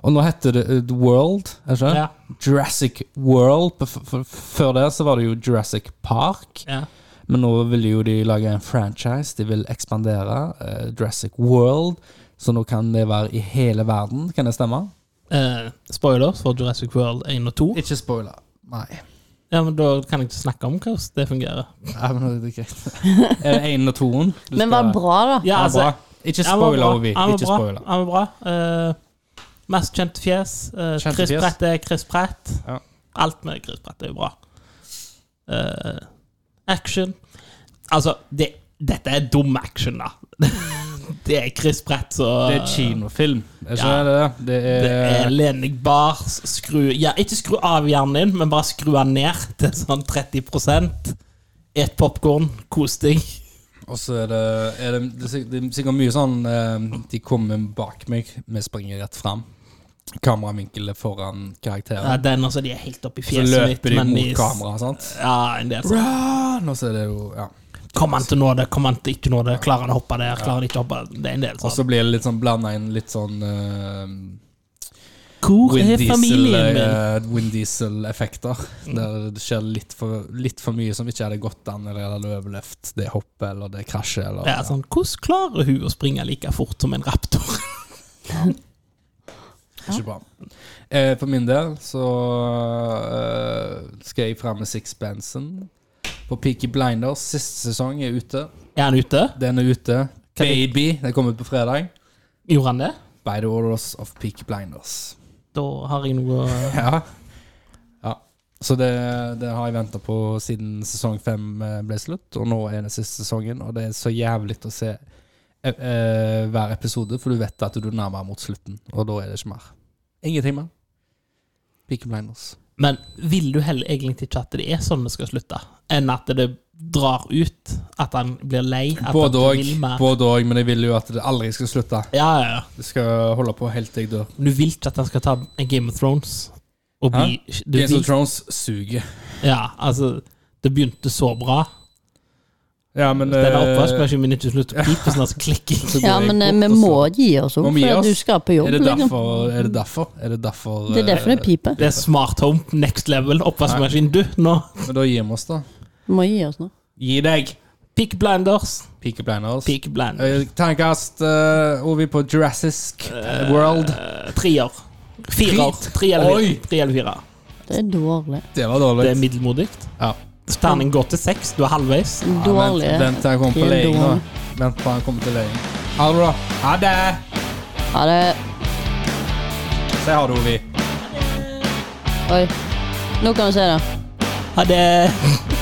Speaker 2: Og nå heter det eh, The World. Er ikke? det?
Speaker 1: Ja.
Speaker 2: Jurassic World. F f f- før det så var det jo Jurassic Park.
Speaker 1: Ja.
Speaker 2: Men nå vil jo de lage en franchise. De vil ekspandere. eh, Jurassic World. Så nå kan det være i hele verden. Kan det stemme?
Speaker 1: Eh, spoilers for Jurassic World 1 og 2.
Speaker 2: Ikke spoiler. Nei.
Speaker 1: Ja, men Da kan jeg ikke snakke om hvordan det fungerer.
Speaker 2: Ja, men det er greit. Er det én Eh, og toen? Du
Speaker 3: Men
Speaker 2: skal-
Speaker 3: var bra, da.
Speaker 1: Ja,
Speaker 2: Ja,
Speaker 1: altså,
Speaker 2: bra. Ikke spoiler, Ovi.
Speaker 1: Han var
Speaker 2: Ikke
Speaker 1: bra.
Speaker 2: spoiler.
Speaker 1: Han var bra. Eh, mest kjente fjes. Eh,
Speaker 2: Kjente
Speaker 1: Chris
Speaker 2: fjes.
Speaker 1: Pratt er Chris Pratt.
Speaker 2: Ja.
Speaker 1: Alt med Chris Pratt er jo bra. Eh, action. Altså, det, dette er dum action, da. det er Chris Pratt som
Speaker 2: Det er kinofilm. Jeg
Speaker 1: Ja.
Speaker 2: skjønner det. Det
Speaker 1: Det er
Speaker 2: er
Speaker 1: len deg bar, skru ja, Ikke skru av hjernen din, men bare skru den ned til sånn 30 Et popkorn, kos deg.
Speaker 2: Og så er det, er det, det, er sik- det er sikkert mye sånn eh, De kommer bak meg, vi springer rett fram. Kameravinkel er foran
Speaker 1: Ja,
Speaker 2: karakteren.
Speaker 1: den også, de er helt oppi
Speaker 2: Så
Speaker 1: fjeset mitt.
Speaker 2: løper de
Speaker 1: men
Speaker 2: mot kameraet, sant.
Speaker 1: Ja, en del sånn.
Speaker 2: Run! Og så er det jo Ja.
Speaker 1: Kommer han til å nå det? Kommer han til ikke nå det? Klarer han å hoppe der? Klarer han ikke å hoppe der? Det er en del
Speaker 2: Og
Speaker 1: sånn.
Speaker 2: så blir det litt sånn blanda inn litt sånn eh,
Speaker 1: Hvor
Speaker 2: Wind
Speaker 1: er familien
Speaker 2: Diesel,
Speaker 1: min? Mm.
Speaker 2: eh, Wind Diesel-effekter. Der det skjer litt for, litt for mye som ikke hadde gått an eller hadde overlevd. Det hoppet eller det krasjet eller
Speaker 1: Ja, sånn, hvordan klarer hun å springe like fort som en raptor?
Speaker 2: Ikke bra. Eh, for min del så eh, skal jeg fram med sixpensen på Peaky Blinders. Siste sesong er ute.
Speaker 1: Er han ute?
Speaker 2: Den er ute. Baby. Den kommer ut på fredag.
Speaker 1: Gjorde han det?
Speaker 2: By the orders of Peaky Blinders.
Speaker 1: Da har jeg noe
Speaker 2: Ja. ja. Så det, det har jeg venta på siden sesong fem eh, ble slutt, og nå er det siste sesongen. Og det er så jævlig å se eh, eh, hver episode, for du vet at du er nærmere mot slutten, og da er det ikke mer. Ingenting mer. Peaky Blinders.
Speaker 1: Men vil du heller egentlig ikke at det er sånn det skal slutte, enn at det drar ut? At han blir lei? At han
Speaker 2: Både
Speaker 1: ikke
Speaker 2: òg,
Speaker 1: vil mer?
Speaker 2: både og, men jeg vil jo at det aldri skal slutte.
Speaker 1: Ja, ja, ja.
Speaker 2: Du skal holde på helt til jeg dør.
Speaker 1: Men Du vil ikke at han skal ta en Game of Thrones og bli du
Speaker 2: Games of
Speaker 1: vil,
Speaker 2: Thrones suger.
Speaker 1: Ja, altså Det begynte så bra.
Speaker 2: Ja, men
Speaker 1: Den er
Speaker 2: eh,
Speaker 1: oppvaskmaskinen min ikke slutter å pipe, sånn at klikking
Speaker 2: så går
Speaker 3: Ja,
Speaker 2: jeg
Speaker 3: men eh,
Speaker 2: bort,
Speaker 3: vi
Speaker 2: og så- Må
Speaker 3: må gi oss opp,
Speaker 2: vi gi
Speaker 3: for
Speaker 2: oss?
Speaker 3: du skal på jobb.
Speaker 2: Er det
Speaker 3: liksom.
Speaker 2: derfor? Er det derfor? Er det derfor,
Speaker 3: Det er derfor det
Speaker 2: eh,
Speaker 3: piper.
Speaker 1: Det er smart home, next level, oppvaskmaskin. Du, nå
Speaker 2: Men da gir vi oss, da.
Speaker 3: Vi må gi oss nå.
Speaker 2: Gi deg!
Speaker 1: Peak blinders.
Speaker 2: Peaky Blinders.
Speaker 1: Peak blind.
Speaker 2: Eh, Terningkast uh, over på Jurassic World.
Speaker 1: Eh, Trier. Firer.
Speaker 2: Fint.
Speaker 1: Tre eller
Speaker 2: Oi.
Speaker 1: fire. Tre eller fire.
Speaker 3: Det er dårlig.
Speaker 2: Det var
Speaker 1: Det er
Speaker 2: dårlig.
Speaker 1: middelmodig.
Speaker 2: Ja.
Speaker 1: Terning går til seks. Du er halvveis.
Speaker 3: Dårlig.
Speaker 2: Vent, vent til han kommer på
Speaker 3: Helt
Speaker 2: leien,
Speaker 3: dårlig.
Speaker 2: da. Vent til han kommer til leien. Ha det bra. Ha det!
Speaker 3: Ha det.
Speaker 2: Si ha det, Ovi.
Speaker 3: Oi. Nå kan du se det.
Speaker 1: Ha det.